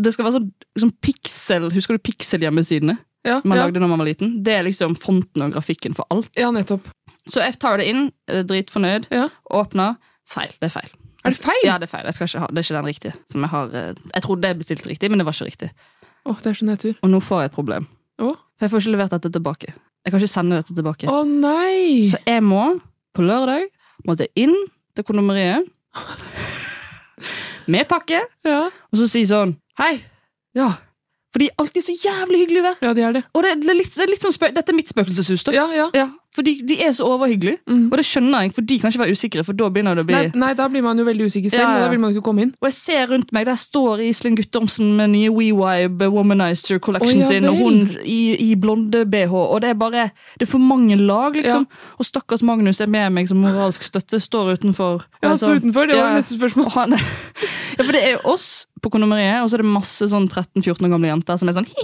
S3: Det skal være sånn, sånn pixel Husker du pixel-hjemmesidene?
S1: Ja,
S3: man
S1: ja.
S3: lagde når man var liten. Det er liksom fonten og grafikken for alt.
S1: ja, nettopp.
S3: Så jeg tar det inn, eh, dritfornøyd,
S1: Ja.
S3: åpner. Feil. Det er feil.
S1: Er det feil?
S3: Ja, det er feil. Jeg skal ikke ha, det er ikke den riktige. Som jeg, har, eh, jeg trodde jeg bestilte riktig, men det var ikke riktig.
S1: Å, det er så nedtur.
S3: Og nå får jeg et problem.
S1: Å,
S3: For jeg får ikke levert dette tilbake. Jeg kan ikke sende dette tilbake.
S1: å nei!
S3: Så jeg må, på lørdag, måtte inn til kondomeriet med pakke,
S1: Ja,
S3: og så si sånn Hei! Ja. For de er alltid så jævlig hyggelige der.
S1: ja det er det.
S3: Og det er litt, det er litt sånn spø Dette er mitt spøkelseshus, da.
S1: Ja, ja.
S3: Ja, for de, de er så overhyggelige, og det skjønner jeg, for de kan ikke være usikre, for da begynner det å bli...
S1: Mm. Nei, nei, da blir man jo veldig usikker selv,
S3: Ja, ja.
S1: og da vil man jo ikke komme inn.
S3: Og jeg ser rundt meg, der står Iselin Guttormsen med nye WeWibe Womanizer Collection
S1: Å, ja
S3: sin, og
S1: vel.
S3: hun i, i blonde BH, og det er bare, det er for mange lag, liksom. Og stakkars Magnus er med meg som moralsk støtte, står utenfor. Altså,
S1: Ja, han står utenfor, det var
S3: Ja.
S1: neste spørsmål.
S3: Og han, ja, for det er jo oss på kondomeriet, og så er det masse sånn 13-14 år gamle jenter som er sånn,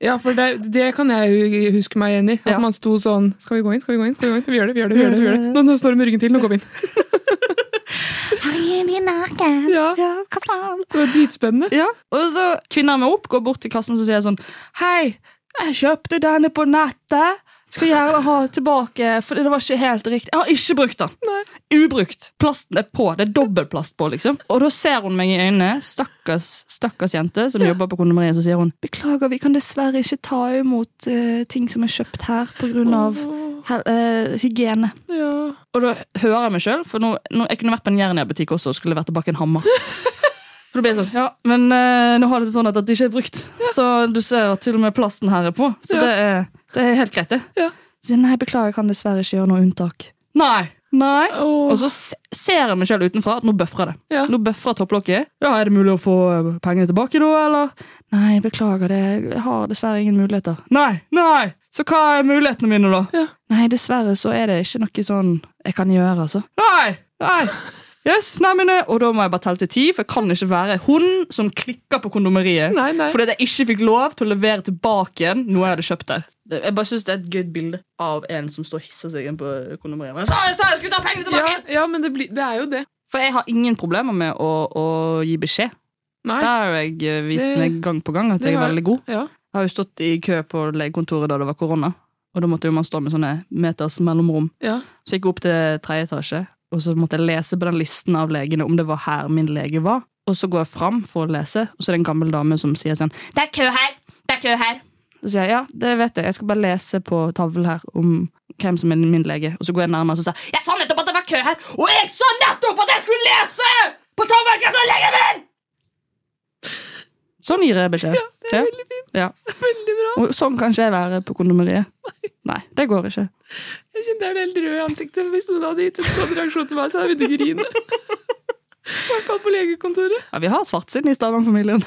S1: Ja, for det, det kan jeg jo huske meg igjen i. At
S3: Ja.
S1: man sto sånn Skal vi gå inn? Skal vi gå inn? Skal vi gå inn? Vi gjør det, vi gjør det. vi gjør det, vi gjør det. Nå, nå står det med ryggen til, nå går vi inn.
S8: blir naken.
S1: Ja,
S3: Ja, hva faen?
S1: det var dritspennende.
S3: Ja, og så kvinner med opp går bort til kassen og så sier jeg sånn Hei, jeg kjøpte denne på nettet. Skal gjerne ha tilbake, for det var ikke helt riktig. Jeg har ikke brukt den. Ubrukt. Plasten er på. Det er dobbeltplast på, liksom. Og da ser hun meg i øynene, stakkars, stakkars jente som jobber på kondomeriet, så sier hun Beklager, vi kan dessverre ikke ta imot eh, ting som er kjøpt her pga. Uh, hygiene.
S1: Ja.
S3: Og da hører jeg meg sjøl, for nå, nå, jeg kunne vært på en Jernia-butikk også og skulle levert tilbake en hammer. For det blir sånn, ja, Men eh, nå har det seg sånn at det ikke er brukt, så du ser at til og med plasten her er på. Så
S1: Ja.
S3: det, er, det er helt greit, det.
S1: Ja.
S3: Så sier jeg, nei, beklager, jeg kan dessverre ikke gjøre noe unntak. Nei! Nei.
S1: Åh.
S3: Og så se- ser jeg meg sjøl utenfra at nå bøfrer det.
S1: Ja.
S3: Nå bøfrer topplokket. Ja, Er det mulig å få eh, pengene tilbake da, eller? Nei, beklager det. Jeg har dessverre ingen muligheter. Nei! Nei! Så hva er mulighetene mine, da?
S1: Ja.
S3: Nei, dessverre så er det ikke noe sånn jeg kan gjøre, altså. Nei! Nei! Yes, nei, men, eh, og da må jeg bare telle til ti, for jeg kan ikke være hun som klikker på kondomeriet
S1: Nei, nei.
S3: fordi at jeg ikke fikk lov til å levere tilbake igjen noe jeg hadde kjøpt der. Jeg bare synes det er et gøy bilde av en som står og hisser seg inn på kondomeriet. Men jeg sa- jeg sa jeg skulle ta penger
S1: Ja,
S3: tilbake!
S1: ja, men det, blir- det er jo det.
S3: For jeg har ingen problemer med å, å gi beskjed.
S1: Nei.
S3: Der har jeg eh, vist
S1: Det-
S3: meg gang på gang at
S1: det
S3: jeg er
S1: har-
S3: veldig god.
S1: Ja.
S3: Jeg har jo stått i kø på legekontoret da det var korona, og da måtte jo man stå med sånne meters mellomrom.
S1: ja.
S3: Så jeg gikk opp til tredje etasje, og så måtte jeg lese på den listen av legene om det var her min lege var. Og så går jeg fram for å lese, og så er det en gammel dame som sier sånn Det er kø her! Det er kø her! Så sier jeg ja, det vet jeg, jeg skal bare lese på tavlen her om hvem som er min lege. Og så går jeg nærmere og så sier Jeg sa nettopp at det var kø her! Og jeg sa nettopp at jeg skulle lese på tavlen hvem som er legen min! Sånn gir jeg beskjed. Ja, det er veldig fint.
S1: Veldig bra.
S3: Og sånn kan ikke jeg være på kondomeriet. Nei, det går ikke.
S1: Jeg kjente jeg ble helt rød i ansiktet. Hvis noen hadde gitt en sånn reaksjon til meg, så hadde jeg begynt å grine. I hvert fall på legekontoret.
S3: Ja, Vi har svartsinn i Stavang-familien.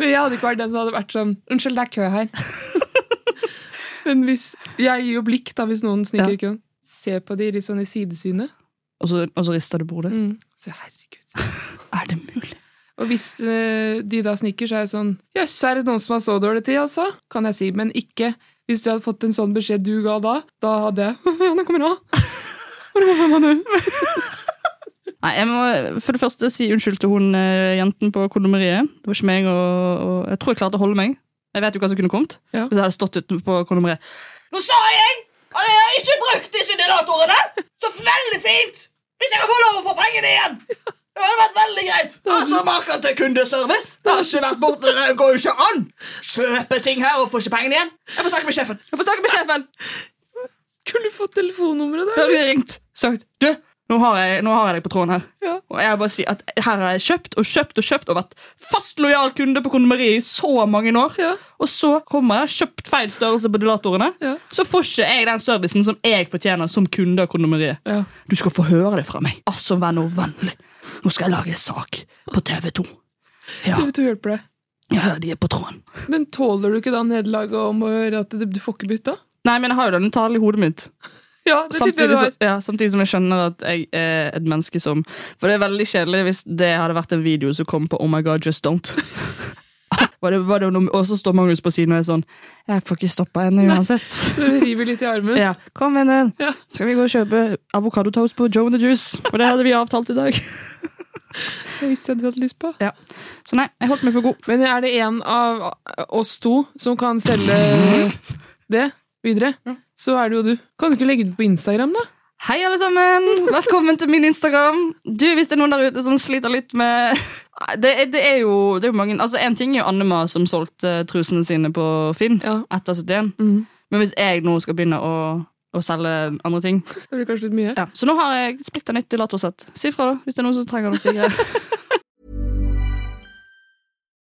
S1: Men jeg hadde ikke vært den som hadde vært sånn Unnskyld, det er kø her. Men hvis Jeg gir jo blikk da hvis noen sniker
S3: Ja.
S1: i køen. Se på de litt sånn i sidesynet.
S3: Og så, og så rister du på hodet.
S1: Mm. Så herregud.
S3: Er det mulig?
S1: Og hvis eh, de da sniker, så er jeg sånn Jøss, er det noen som har så dårlig tid, altså? Kan jeg si. Men ikke hvis du hadde fått en sånn beskjed du ga da. Da hadde jeg Ja, nå kommer han.
S3: Nei, jeg må for det første si unnskyld til hun eh, jenten på kondomeriet. Det var ikke meg, og, og jeg tror jeg klarte å holde meg. Jeg vet jo hva som kunne kommet.
S1: Ja.
S3: Hvis jeg hadde stått utenfor kondomeriet. Nå sa jeg at jeg har ikke brukt disse dilatorene! Så veldig fint! Hvis jeg kan få lov å få pengene igjen! Det hadde vært veldig greit. Altså, Maken til kundeservice! Det har ikke vært bort, det går jo ikke an! Kjøpe ting her og får ikke pengene igjen. Jeg får snakke med sjefen. Jeg får snakke med sjefen.
S1: Kunne du fått telefonnummeret
S3: Da
S1: der?
S3: hadde jeg ringt sagt Du, nå har jeg, nå har jeg deg på tråden her.
S1: Ja.
S3: Og jeg bare sier at her har jeg kjøpt og kjøpt og kjøpt og vært fast lojal kunde på kondomeriet i så mange år.
S1: Ja.
S3: Og så kommer jeg, kjøpt feil størrelse på dilatorene.
S1: Ja.
S3: Så får ikke jeg den servicen som jeg fortjener som kunde av kondomeriet.
S1: Ja.
S3: Du skal få høre det fra meg. Altså, vær nå vennlig. Nå skal jeg lage en sak på TV 2. Ja,
S1: TV 2 hjelper deg.
S3: ja de er på tråden.
S1: Men tåler du ikke da nederlaget om å høre at du, du får ikke bytta?
S3: Nei, men jeg har jo denne talen i hodet mitt.
S1: Ja, det tipper jeg
S3: samtidig,
S1: du
S3: så,
S1: har.
S3: ja, samtidig som jeg skjønner at jeg er et menneske som For det er veldig kjedelig hvis det hadde vært en video som kom på Oh my god, just don't. var det, var det noe, og så står Magnus på siden og er sånn Jeg får ikke stoppa henne uansett.
S1: Så du river litt i armen.
S3: Ja, Kom, vennen.
S1: Ja.
S3: Skal vi gå og kjøpe avokadotoast på Joe and the Juice? For det hadde vi avtalt i dag.
S1: Det visste jeg du hadde lyst på.
S3: Ja. Så nei, jeg holdt meg for god.
S1: Men er det en av oss to som kan selge det videre, så er det jo du. Kan du ikke legge det på Instagram, da?
S3: Hei, alle sammen! Velkommen til min Instagram. Du, Hvis det er noen der ute som sliter litt med Nei, Det, er- det er jo det er jo mange Altså, Én ting er jo Annema som solgte eh, trusene sine på Finn
S1: Ja.
S3: etter 71. Men hvis jeg nå skal begynne å, å selge andre ting
S1: Det blir kanskje litt mye.
S3: ja. Så nå har jeg splitta nytt dilatorsett. Si fra, da, hvis det er noen som trenger noe. greier.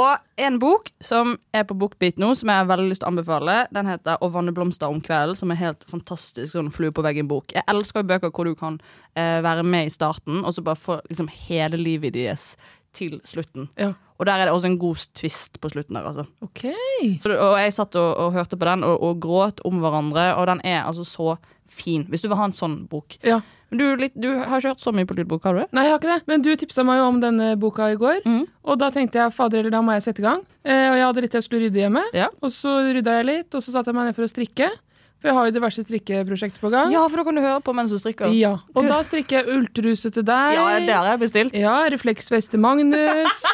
S3: Og en bok som er på Bookbeat nå, som jeg har veldig lyst til å anbefale, den heter 'Å vanne blomster om kvelden', som er helt fantastisk sånn flue på veggen-bok. Jeg elsker jo bøker hvor du kan eh, være med i starten, og så bare få liksom, hele livet deres til slutten.
S1: Ja.
S3: Og der er det også en god twist på slutten der, altså.
S1: Ok.
S3: Så, det- og jeg satt og, og hørte på den og, og gråt om hverandre, og den er altså så fin. Hvis du vil ha en sånn bok.
S1: Ja.
S3: Men du, er litt, du har ikke hørt så mye på lydbok, har du det?
S1: Nei, jeg har ikke det. Men du tipsa meg jo om denne boka i går.
S3: Mm.
S1: Og da tenkte jeg fader eller da må jeg sette i gang. Eh, og jeg hadde litt jeg skulle rydde hjemme.
S3: Ja.
S1: Og så rydda jeg litt, og så satte jeg meg ned for å strikke. For jeg har jo diverse strikkeprosjekter på gang.
S3: Ja, for da kan du høre på mens du strikker.
S1: Ja. Og da strikker jeg ultruse til deg.
S3: Ja, det har jeg bestilt.
S1: Ja, refleksvest til Magnus.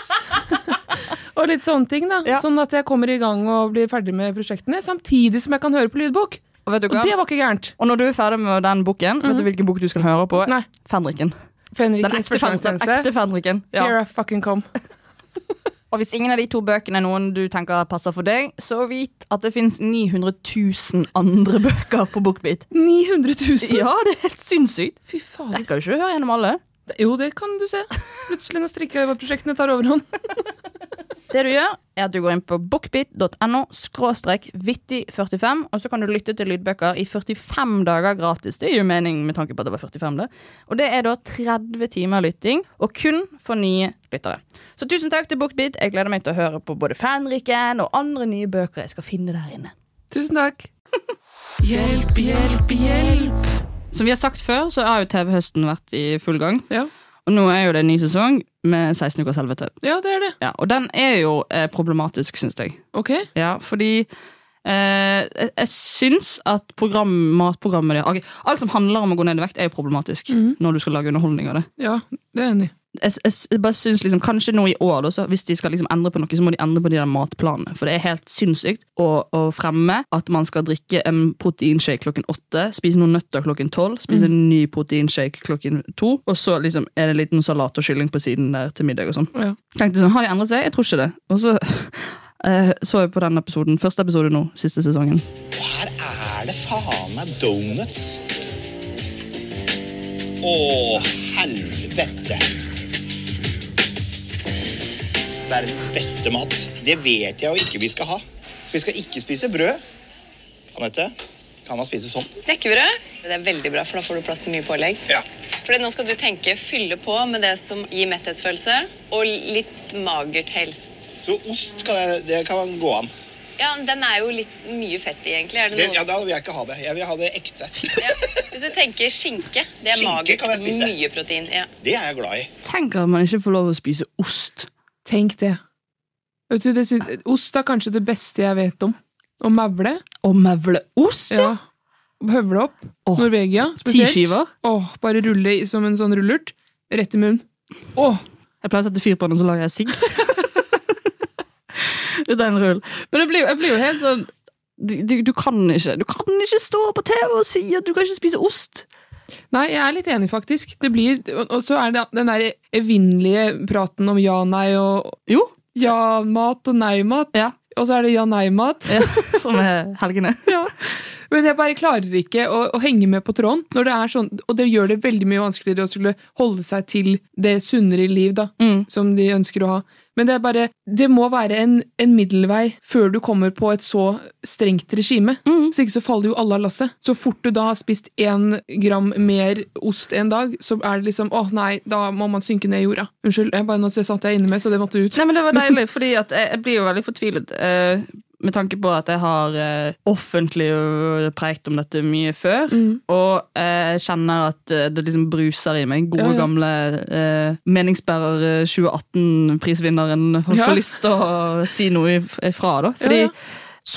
S1: og litt sånne ting, da.
S3: Ja.
S1: Sånn at jeg kommer i gang og blir ferdig med prosjektene, samtidig som jeg kan høre på lydbok.
S3: Og vet du
S1: Og
S3: hva?
S1: det var ikke gærent.
S3: Og når du er ferdig med den boken, vet du hvilken bok du skal høre på?
S1: Nei.
S3: Fenriken. Den
S1: Fenrikens
S3: ekte, fen den
S1: førstegangstjeneste.
S3: ekte Fenriken.
S1: Here
S3: Ja.
S1: I fucking come.
S3: Og hvis ingen av de to bøkene er noen du tenker passer for deg, så vit at det fins 900 000 andre bøker på Bookbeat.
S1: 900 000!
S3: Ja, det er helt sinnssykt.
S1: Fy fader.
S3: Jeg kan jo ikke høre gjennom alle.
S1: Jo, det kan du se. Plutselig når strikkeøverprosjektene tar overhånd.
S3: Det du gjør, er at du går inn på bookbit.no skråstrek vittig45, og så kan du lytte til lydbøker i 45 dager gratis. Det gir jo mening med tanke på at det var 45, det. Og det er da 30 timer lytting, og kun for nye lyttere. Så tusen takk til Bookbeat. Jeg gleder meg til å høre på både Fanriken og andre nye bøker jeg skal finne der inne.
S1: Tusen takk. Hjelp, hjelp, hjelp.
S3: Som vi har sagt før, så har jo TV-høsten vært i full gang.
S1: Ja,
S3: Og nå er jo det en ny sesong med 16 ukers helvete.
S1: ja det er det.
S3: Ja, og den er jo eh, problematisk, syns jeg.
S1: Ok.
S3: Ja, fordi eh, jeg, jeg syns at program, matprogrammet det, ok, Alt som handler om å gå ned i vekt, er jo problematisk når du skal lage underholdning av det.
S1: Ja, det er jeg enig. i.
S3: Jeg, jeg, jeg bare synes liksom, Kanskje nå i år, da, så hvis de skal liksom endre på noe, så må de endre på de der matplanene. For det er helt sinnssykt å, å fremme at man skal drikke en proteinshake klokken åtte, spise noen nøtter klokken tolv, spise en ny proteinshake klokken to, og så liksom, er det en liten salat og kylling på siden der til middag og sånn
S1: Ja.
S3: tenkte sånn, har de endret seg? Jeg tror ikke det. Og så eh, så jeg på den episoden, første episode nå, siste sesongen.
S8: Her er det faen meg donuts. Å, helvete. Verdens beste mat. Det vet jeg jo ikke vi skal ha. Vi skal ikke spise brød. Anette, kan man spise sånt?
S9: Knekkebrød. Det er veldig bra, for da får du plass til nye pålegg.
S8: Ja.
S9: Fordi nå skal du tenke fylle på med det som gir metthetsfølelse, og litt magert helst.
S8: Så ost kan, jeg, det kan gå an.
S9: Ja, men den er jo litt mye fett i, egentlig. Er
S8: Det,
S9: det
S8: ja,
S9: noe?
S8: da vil jeg ikke ha det. Jeg vil ha det ekte.
S9: Ja. Hvis du tenker skinke, det er
S8: Skinke
S9: magert.
S8: kan jeg spise.
S9: Mye protein. ja.
S8: Det er jeg glad i.
S3: Tenk at man ikke får lov å spise ost.
S1: Tenk det. Vet du, det syn- ost er kanskje det beste jeg vet om. Å mevle.
S3: Å mevle ost, ja!
S1: Ja. Høvle opp.
S3: Åh,
S1: Norvegia
S3: Ti
S1: spesielt.
S3: skiver.
S1: Åh, bare rulle i- som en sånn rullert. Rett i munnen. Åh,
S3: Jeg pleier å sette fyr på den, så lager jeg sigg. Det er en rull. Men jeg blir, jo- jeg blir jo helt sånn du, du, du kan ikke Du kan ikke stå på TV og si at du kan ikke spise ost!
S1: Nei, jeg er litt enig, faktisk. Det blir, og og så er det den der evinnelige praten om ja, nei og
S3: Jo,
S1: ja-mat og nei-mat.
S3: Ja.
S1: Og så er det ja-nei-mat.
S3: ja, som er helgene.
S1: Men jeg bare klarer ikke å, å henge med på tråden. når det er sånn, Og det gjør det veldig mye vanskeligere å skulle holde seg til det sunnere liv da, som de ønsker å ha. Men det er bare, det må være en, en middelvei før du kommer på et så strengt regime. Så ikke så faller jo alle av lasset. Så fort du da har spist én gram mer ost en dag, så er det liksom åh nei, da må man synke ned i jorda. Unnskyld, jeg bare nå satt jeg inne med, så det måtte ut.
S3: Nei, men Det var deilig, fordi at jeg, jeg blir jo veldig fortvilet. eh, med tanke på at jeg har eh, offentlig øh, preikt om dette mye før.
S1: Mm.
S3: Og eh, jeg kjenner at eh, det liksom bruser i meg. Gode,
S1: Ja, ja.
S3: gamle eh, meningsbærer eh, 2018-prisvinneren får
S1: Ja.
S3: får lyst til å si noe if- ifra. da. Fordi
S1: Ja, ja.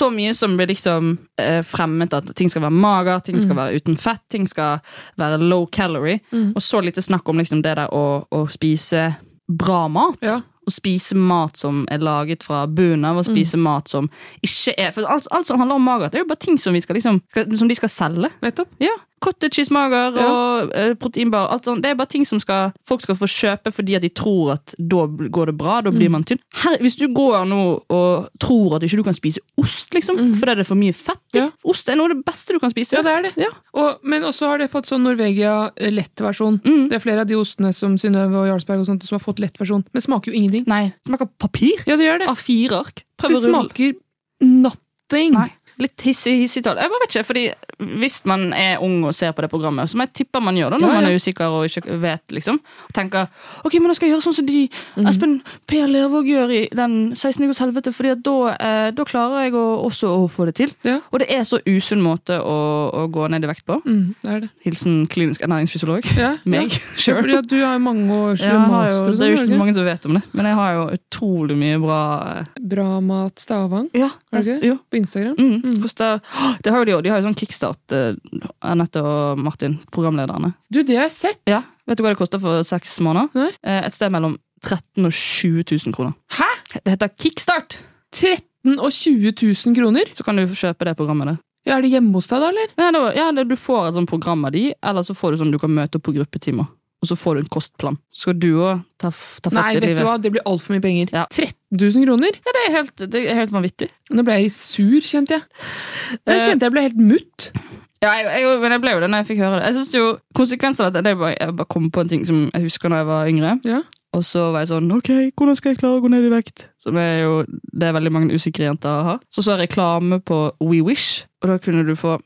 S3: så mye som blir liksom eh, fremmet at ting skal være mager, ting
S1: Mm.
S3: skal være uten fett, ting skal være low calorie, og så lite snakk om liksom det der å, å spise bra mat.
S1: Ja.
S3: Å spise mat som er laget fra bunnen av, og
S1: Mm.
S3: spise mat som ikke er For alt, alt som handler om magert, det er jo bare ting som, vi skal liksom, skal, som de skal selge.
S1: Nettopp.
S3: Ja. Cottage cheesemager og eh, proteinbar. Alt sånt. Det er bare ting som skal, folk skal få kjøpe fordi at de tror at da bl- går det bra. Da
S1: Mm.
S3: blir man tynn. Her, hvis du går nå og tror at ikke du kan spise ost, liksom, fordi det er for mye fett i
S1: Mm. Ja.
S3: Ost er noe av det beste du kan spise.
S1: Ja, det er det.
S3: Ja.
S1: Og, men også har det fått sånn Norvegia-lett-versjon.
S3: Mm.
S1: Det er flere av de ostene som Synnøve og Jarlsberg og sånt, som har fått lett-versjon, men smaker jo ingenting.
S3: Nei, det smaker papir.
S1: Ja, det gjør det.
S3: Av fire ark. Prøv
S1: Det
S3: å rulle.
S1: smaker nothing.
S3: Nei. Litt hissig-hissig tall. Jeg bare vet ikke, fordi Hvis man er ung og ser på det programmet, som jeg tipper man gjør da, når
S1: Ja, ja.
S3: man er usikker og ikke vet, liksom, og tenker ok, men da skal jeg gjøre sånn som de Espen Per Lervåg gjør i den 16 ukers helvete, fordi at da, eh, da klarer jeg å, også å få det til.
S1: Ja.
S3: Og det er så usunn måte å, å gå ned i vekt på.
S1: Mm, det er det.
S3: Hilsen klinisk ernæringsfysiolog.
S1: Ja,
S3: Meg.
S1: ja.
S3: Sure.
S1: Fordi at du har jo mange års
S3: Jeg har jo,
S1: master og
S3: det er jo
S1: sånn,
S3: ikke
S1: har
S3: så
S1: du
S3: mange som vet om det, men jeg har jo utrolig mye bra eh,
S1: ikke? Bra mat Stavang
S3: Ja,
S1: har du
S3: jeg-
S1: ikke?
S3: jo.
S1: på Instagram.
S3: Mm. Koster, Åh, det har jo de òg. De har jo sånn kickstart, eh, Anette og Martin, programlederne.
S1: Du, det har jeg sett!
S3: Vet du hva det koster for seks måneder?
S1: Nei.
S3: Eh, Et sted mellom 13 000 og 20 000 kroner.
S1: Hæ?!
S3: Det heter kickstart!
S1: 13 og 20 000 kroner?
S3: Så kan du kjøpe det programmet. der.
S1: Ja, er det hjemme hos deg, da, eller?
S3: Ja, det, var- ja, det, du får et sånt program av de, eller så får du sånn du kan møte opp på gruppetimer. Og så får du en kostplan. Så skal du òg ta, f- ta
S1: Nei,
S3: fatt i
S1: vet du
S3: livet.
S1: hva, det blir altfor mye penger.
S3: Ja.
S1: 13 000 kroner?
S3: Ja, det, er helt, det er helt vanvittig.
S1: Nå ble jeg sur, kjente jeg. Jeg
S3: Eh.
S1: kjente jeg ble helt mutt.
S3: Ja, jeg, jeg, men jeg ble jo det når jeg fikk høre det. Jeg synes jo, Konsekvensen av dette det er bare, Jeg bare kom på en ting som jeg husker når jeg var yngre.
S1: Ja.
S3: Og så var jeg sånn Ok, hvordan skal jeg klare å gå ned i vekt? Som er jo det er veldig mange usikre jenter har. Så så jeg reklame på We Wish, og da kunne du få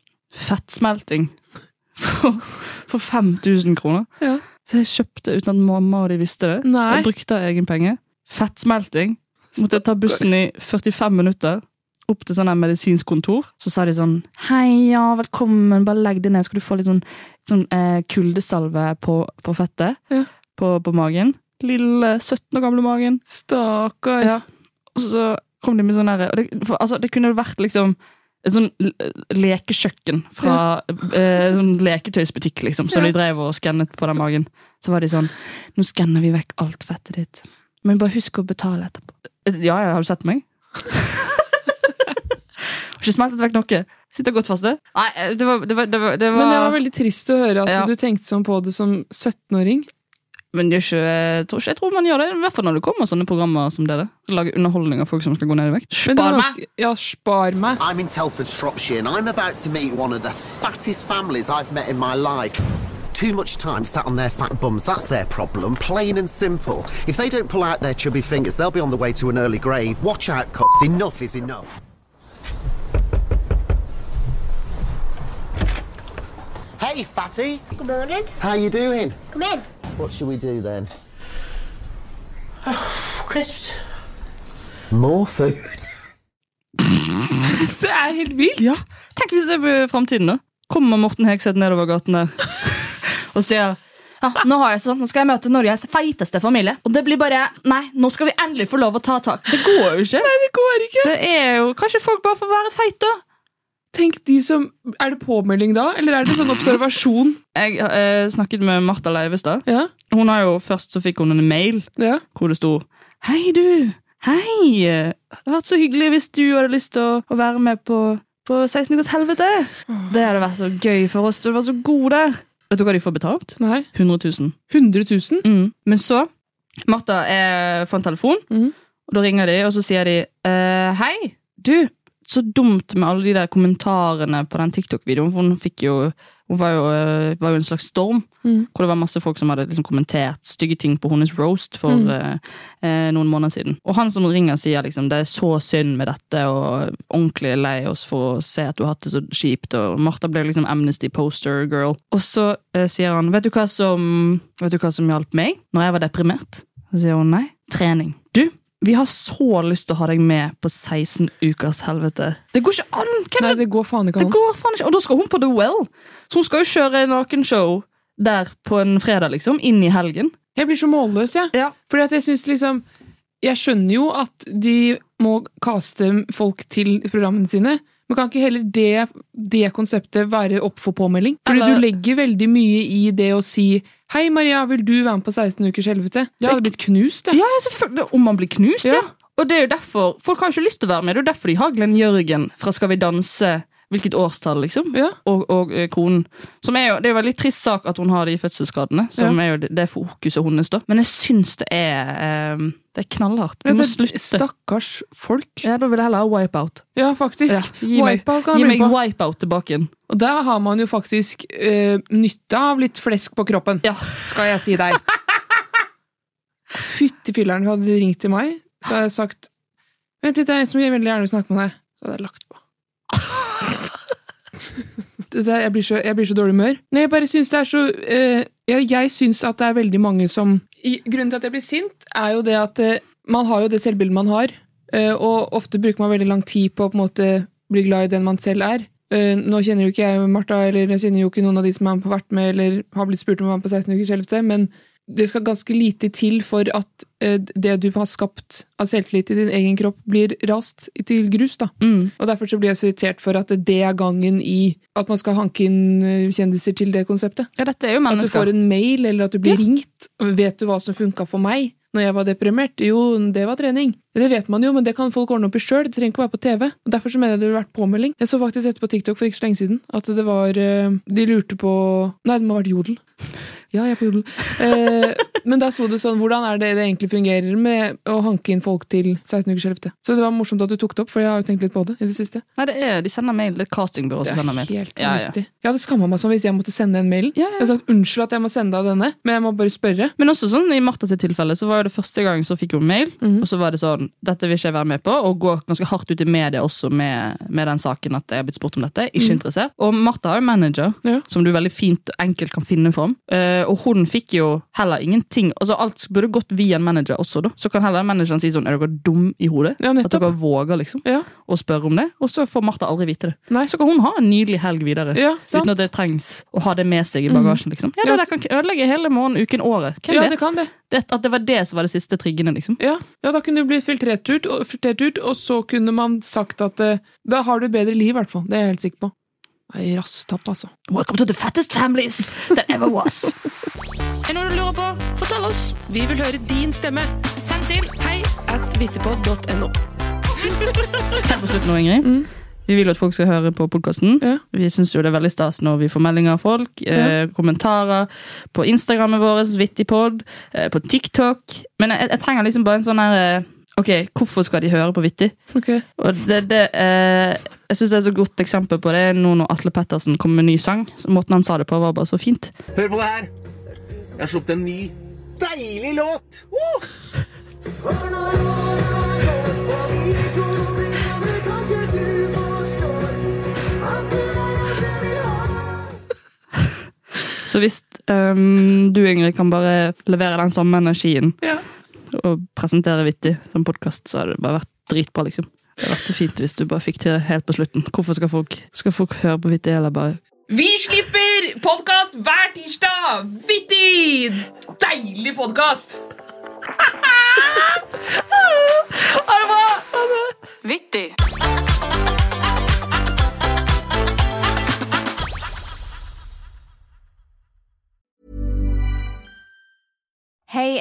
S3: fettsmelting for, for 5000 kroner.
S1: Ja.
S3: Så jeg kjøpte uten at mamma og de visste det.
S1: Nei.
S3: Jeg brukte av egen penge. Fettsmelting. Måtte jeg ta bussen i 45 minutter opp til sånn her medisinsk kontor. Så sa de sånn Hei, ja, velkommen, bare legg deg ned. Skal du få litt sånn, sånn eh, kuldesalve på, på fettet?
S1: Ja.
S3: På, på magen. Lille 17 år gamle magen.
S1: Stakkar.
S3: Ja. Og så kom de med sånn herre og det, for, altså, det kunne vært liksom et sånn l- lekekjøkken fra eh, sånn leketøysbutikk, liksom, som
S1: Ja.
S3: de drev og skannet på den magen. Så var de sånn Nå skanner vi vekk alt fettet ditt, men bare husk å betale etterpå. Eh, Ja, ja, har du sett meg? Har ikke smeltet vekk noe. Sitter godt fast, det. Nei, eh, det var, det var, det var, det var
S1: Men det var veldig trist å høre at
S3: Ja.
S1: du tenkte sånn på det som 17-åring.
S3: Men det er ikke, jeg, tror ikke, jeg tror man gjør det, i hvert fall når det kommer sånne programmer som det der. Lage underholdning av folk som skal gå ned i vekt.
S1: Men det var
S3: Spar meg!
S1: ganske- Ja, spar meg.
S10: I'm in Telford, Shropshire, and I'm about to meet one of the fattest families I've met in my life. Too much time sat on their fat bums, that's their problem, plain and simple. If they don't pull out their chubby fingers, they'll be on the way to an early grave. Watch out, cops, enough is enough. Hey, fatty,
S11: Good morning.
S10: how you doing?
S11: Come in.
S10: What should we do then?
S11: Crisps.
S10: More food.
S1: Det er helt vilt!
S3: Ja. Tenk hvis det blir fremtiden da. Kommer Morten Hegseth nedover gaten der og sier ja, nå, har jeg sånn, nå skal jeg møte Norges feiteste familie. Og det blir bare Nei, nå skal vi endelig få lov å ta tak. Det går jo ikke. Nei, det går ikke. Det er jo, Kanskje folk bare får være feite, da.
S1: Tenk de som Er det påmelding da, eller er det sånn observasjon?
S3: Jeg eh, snakket med Martha Leivestad.
S1: Ja,
S3: Hun har jo Først så fikk hun en mail
S1: ja.
S3: hvor det sto Hei, du! Hei! Det hadde vært så hyggelig hvis du hadde lyst til å, å være med på, på 16 ukers helvete! Det hadde vært så gøy for oss. Du var så god der! Vet du hva de får betalt?
S1: Nei.
S3: 100 000.
S1: 100 000?
S3: Mm. Men så Martha er, får en telefon,
S1: Mhm.
S3: og da ringer de, og så sier de eh, Hei, du, så dumt med alle de der kommentarene på den TikTok-videoen, for hun fikk jo hun var jo, eh, var jo en slags storm,
S1: Mhm.
S3: hvor det var masse folk som hadde liksom kommentert stygge ting på hennes roast for eh, eh, noen måneder siden. Og han som ringer, sier liksom det er så synd med dette, og ordentlig lei oss for å se at du har hatt det så kjipt, og Martha ble liksom Amnesty poster girl. Og så eh, sier han vet du, hva som, vet du hva som hjalp meg når jeg var deprimert? Så sier hun nei. Trening. Du, vi har så lyst til å ha deg med på 16 ukers helvete. Det går ikke an! Hvem
S1: Nei,
S3: som
S1: det går faen ikke
S3: det
S1: an.
S3: går faen ikke. Og da skal hun på The Well. Så hun skal jo kjøre nakenshow der på en fredag, liksom. Inn i helgen.
S1: Jeg blir så målløs, jeg.
S3: Ja.
S1: Fordi at jeg synes liksom Jeg skjønner jo at de må kaste folk til programmene sine, men kan ikke heller det, det konseptet være opp for påmelding? Fordi
S3: Eller-
S1: du legger veldig mye i det å si 'Hei, Maria, vil du være med på 16 ukers helvete?' Jeg hadde blitt knust, jeg.
S3: Ja, ja, selvfølgelig. Om man blir knust, ja.
S1: Ja.
S3: Og det er jo derfor Folk har jo ikke lyst til å være med. Det er jo derfor de har Glenn Jørgen fra Skal vi danse. hvilket årstall, liksom, og, og eh, konen. Som er jo, det er jo en veldig trist sak at hun har de fødselsskadene, som
S1: Ja.
S3: er jo det, det fokuset hennes, da. Men jeg syns det er eh, Det er knallhardt. Vi
S1: Ja,
S3: må
S1: det-
S3: slutte.
S1: Stakkars folk.
S3: Ja, da vil jeg heller ha wipeout.
S1: Ja, faktisk.
S3: Ja, gi meg,
S1: Wipeout kan
S3: gi
S1: han bli på.
S3: meg wipeout tilbake igjen.
S1: Og der har man jo faktisk eh, nytte av litt flesk på kroppen, skal jeg si deg. Fytti filleren, hadde de ringt til meg, så hadde jeg sagt Vent litt, det er en som veldig gjerne vil snakke med deg. Så hadde jeg lagt på. det der, jeg, blir så, jeg blir så dårlig humør. Nei, jeg bare syns det er så eh, jeg, jeg syns at det er veldig mange som I, Grunnen til at jeg blir sint, er jo det at eh, man har jo det selvbildet man har, eh, og ofte bruker man veldig lang tid på å på en måte bli glad i den man selv er. Eh, nå kjenner jo ikke jeg Martha, eller jeg kjenner jo ikke noen av de som har vært med eller har blitt spurt om å være med på 16 ukers helvete, men det skal ganske lite til for at eh, det du har skapt av selvtillit i din egen kropp, blir rast til grus. da. Og Derfor så blir jeg så irritert for at det er gangen i at man skal hanke inn eh, kjendiser til det konseptet.
S3: Ja, dette er jo
S1: At du
S3: mennesker.
S1: får en mail, eller at du blir ringt. Vet du hva som funka for meg når jeg var deprimert? Jo, det var trening. Det vet man jo, men det kan folk ordne opp i sjøl. Det trenger ikke å være på TV. Og Derfor så mener jeg det burde vært påmelding. Jeg så faktisk dette på TikTok for ikke så lenge siden. At det var eh, De lurte på Nei, det må ha vært Jodel. Ja, jeg er på Jodel. Eh, men da sto det sånn Hvordan er det det egentlig fungerer med å hanke inn folk til 16 ukers helvete? Så det var morsomt at du tok det opp, for jeg har jo tenkt litt på det i det siste.
S3: Nei, det er, de sender mail. Det er castingbyrået
S1: Det
S3: som
S1: er
S3: sender mail.
S1: helt
S3: Ja, ja.
S1: vanvittig. Jeg hadde skamma meg sånn hvis jeg måtte sende den mailen. Jeg hadde sagt unnskyld at jeg må sende deg denne, men jeg må bare spørre.
S3: Men også sånn, i Martha sitt tilfelle så var jo det første gang så fikk hun mail, og så var det sånn Dette vil ikke jeg være med på, og går ganske hardt ut i media også med, med den saken at jeg har blitt spurt om dette. Ikke
S1: Mhm.
S3: interessert. Og Martha har jo manager, som du veldig fint og enkelt kan finne fram. Eh, og hun fikk jo heller ingenting. Altså Alt burde gått via en manager også, da. Så kan heller manageren si sånn Er dere dum i hodet? at dere våger liksom å spørre om det, og så får Martha aldri vite det. Så kan hun ha en nydelig helg videre,
S1: Ja, sant. Mhm.
S3: uten at det trengs å ha det med seg i bagasjen. liksom. Ja, det
S1: Ja,
S3: der kan ødelegge hele morgenen, uken, året. Hvem
S1: ja,
S3: vet?
S1: det kan det.
S3: det, at det var det som var det siste triggende, liksom.
S1: Ja. ja, da kunne du bli filtrert ut, og, filtrert ut, og så kunne man sagt at eh, da har du et bedre liv, i hvert fall. Det er jeg helt sikker på. Nei, Rasstapp, altså.
S3: Welcome to the fattest families that ever was. Er det noe du lurer på? Fortell oss.
S1: Vi vil høre din stemme. Send til hei at vittepod.no.
S3: Helt på slutten nå, Ingrid.
S1: Mm.
S3: Vi vil jo at folk skal høre på podkasten. Vi syns jo det er veldig stas når vi får meldinger av folk. Eh, kommentarer på Instagrammen vår, Vittipod, eh, på TikTok. Men jeg, jeg trenger liksom bare en sånn her eh, Ok, hvorfor skal de høre på Vitti?
S1: Ok.
S3: Og det, det, eh, jeg syns det er et så godt eksempel på det nå når Atle Pettersen kom med ny sang. Så måten han sa det på, var bare så fint.
S5: Hør på det her. Jeg har sluppet en ny deilig låt. Woo!
S3: Så hvis ehm, du, Ingrid, kan bare levere den samme energien og presentere Vittig som podkast, så hadde det bare vært dritbra, liksom. Det hadde vært så fint hvis du bare fikk til det helt på slutten. Hvorfor skal folk, skal folk høre på Vittig, eller bare
S1: Vi slipper podkast hver tirsdag! Vittig! Deilig podkast!
S3: Ha det bra! Vittig!
S11: Hey,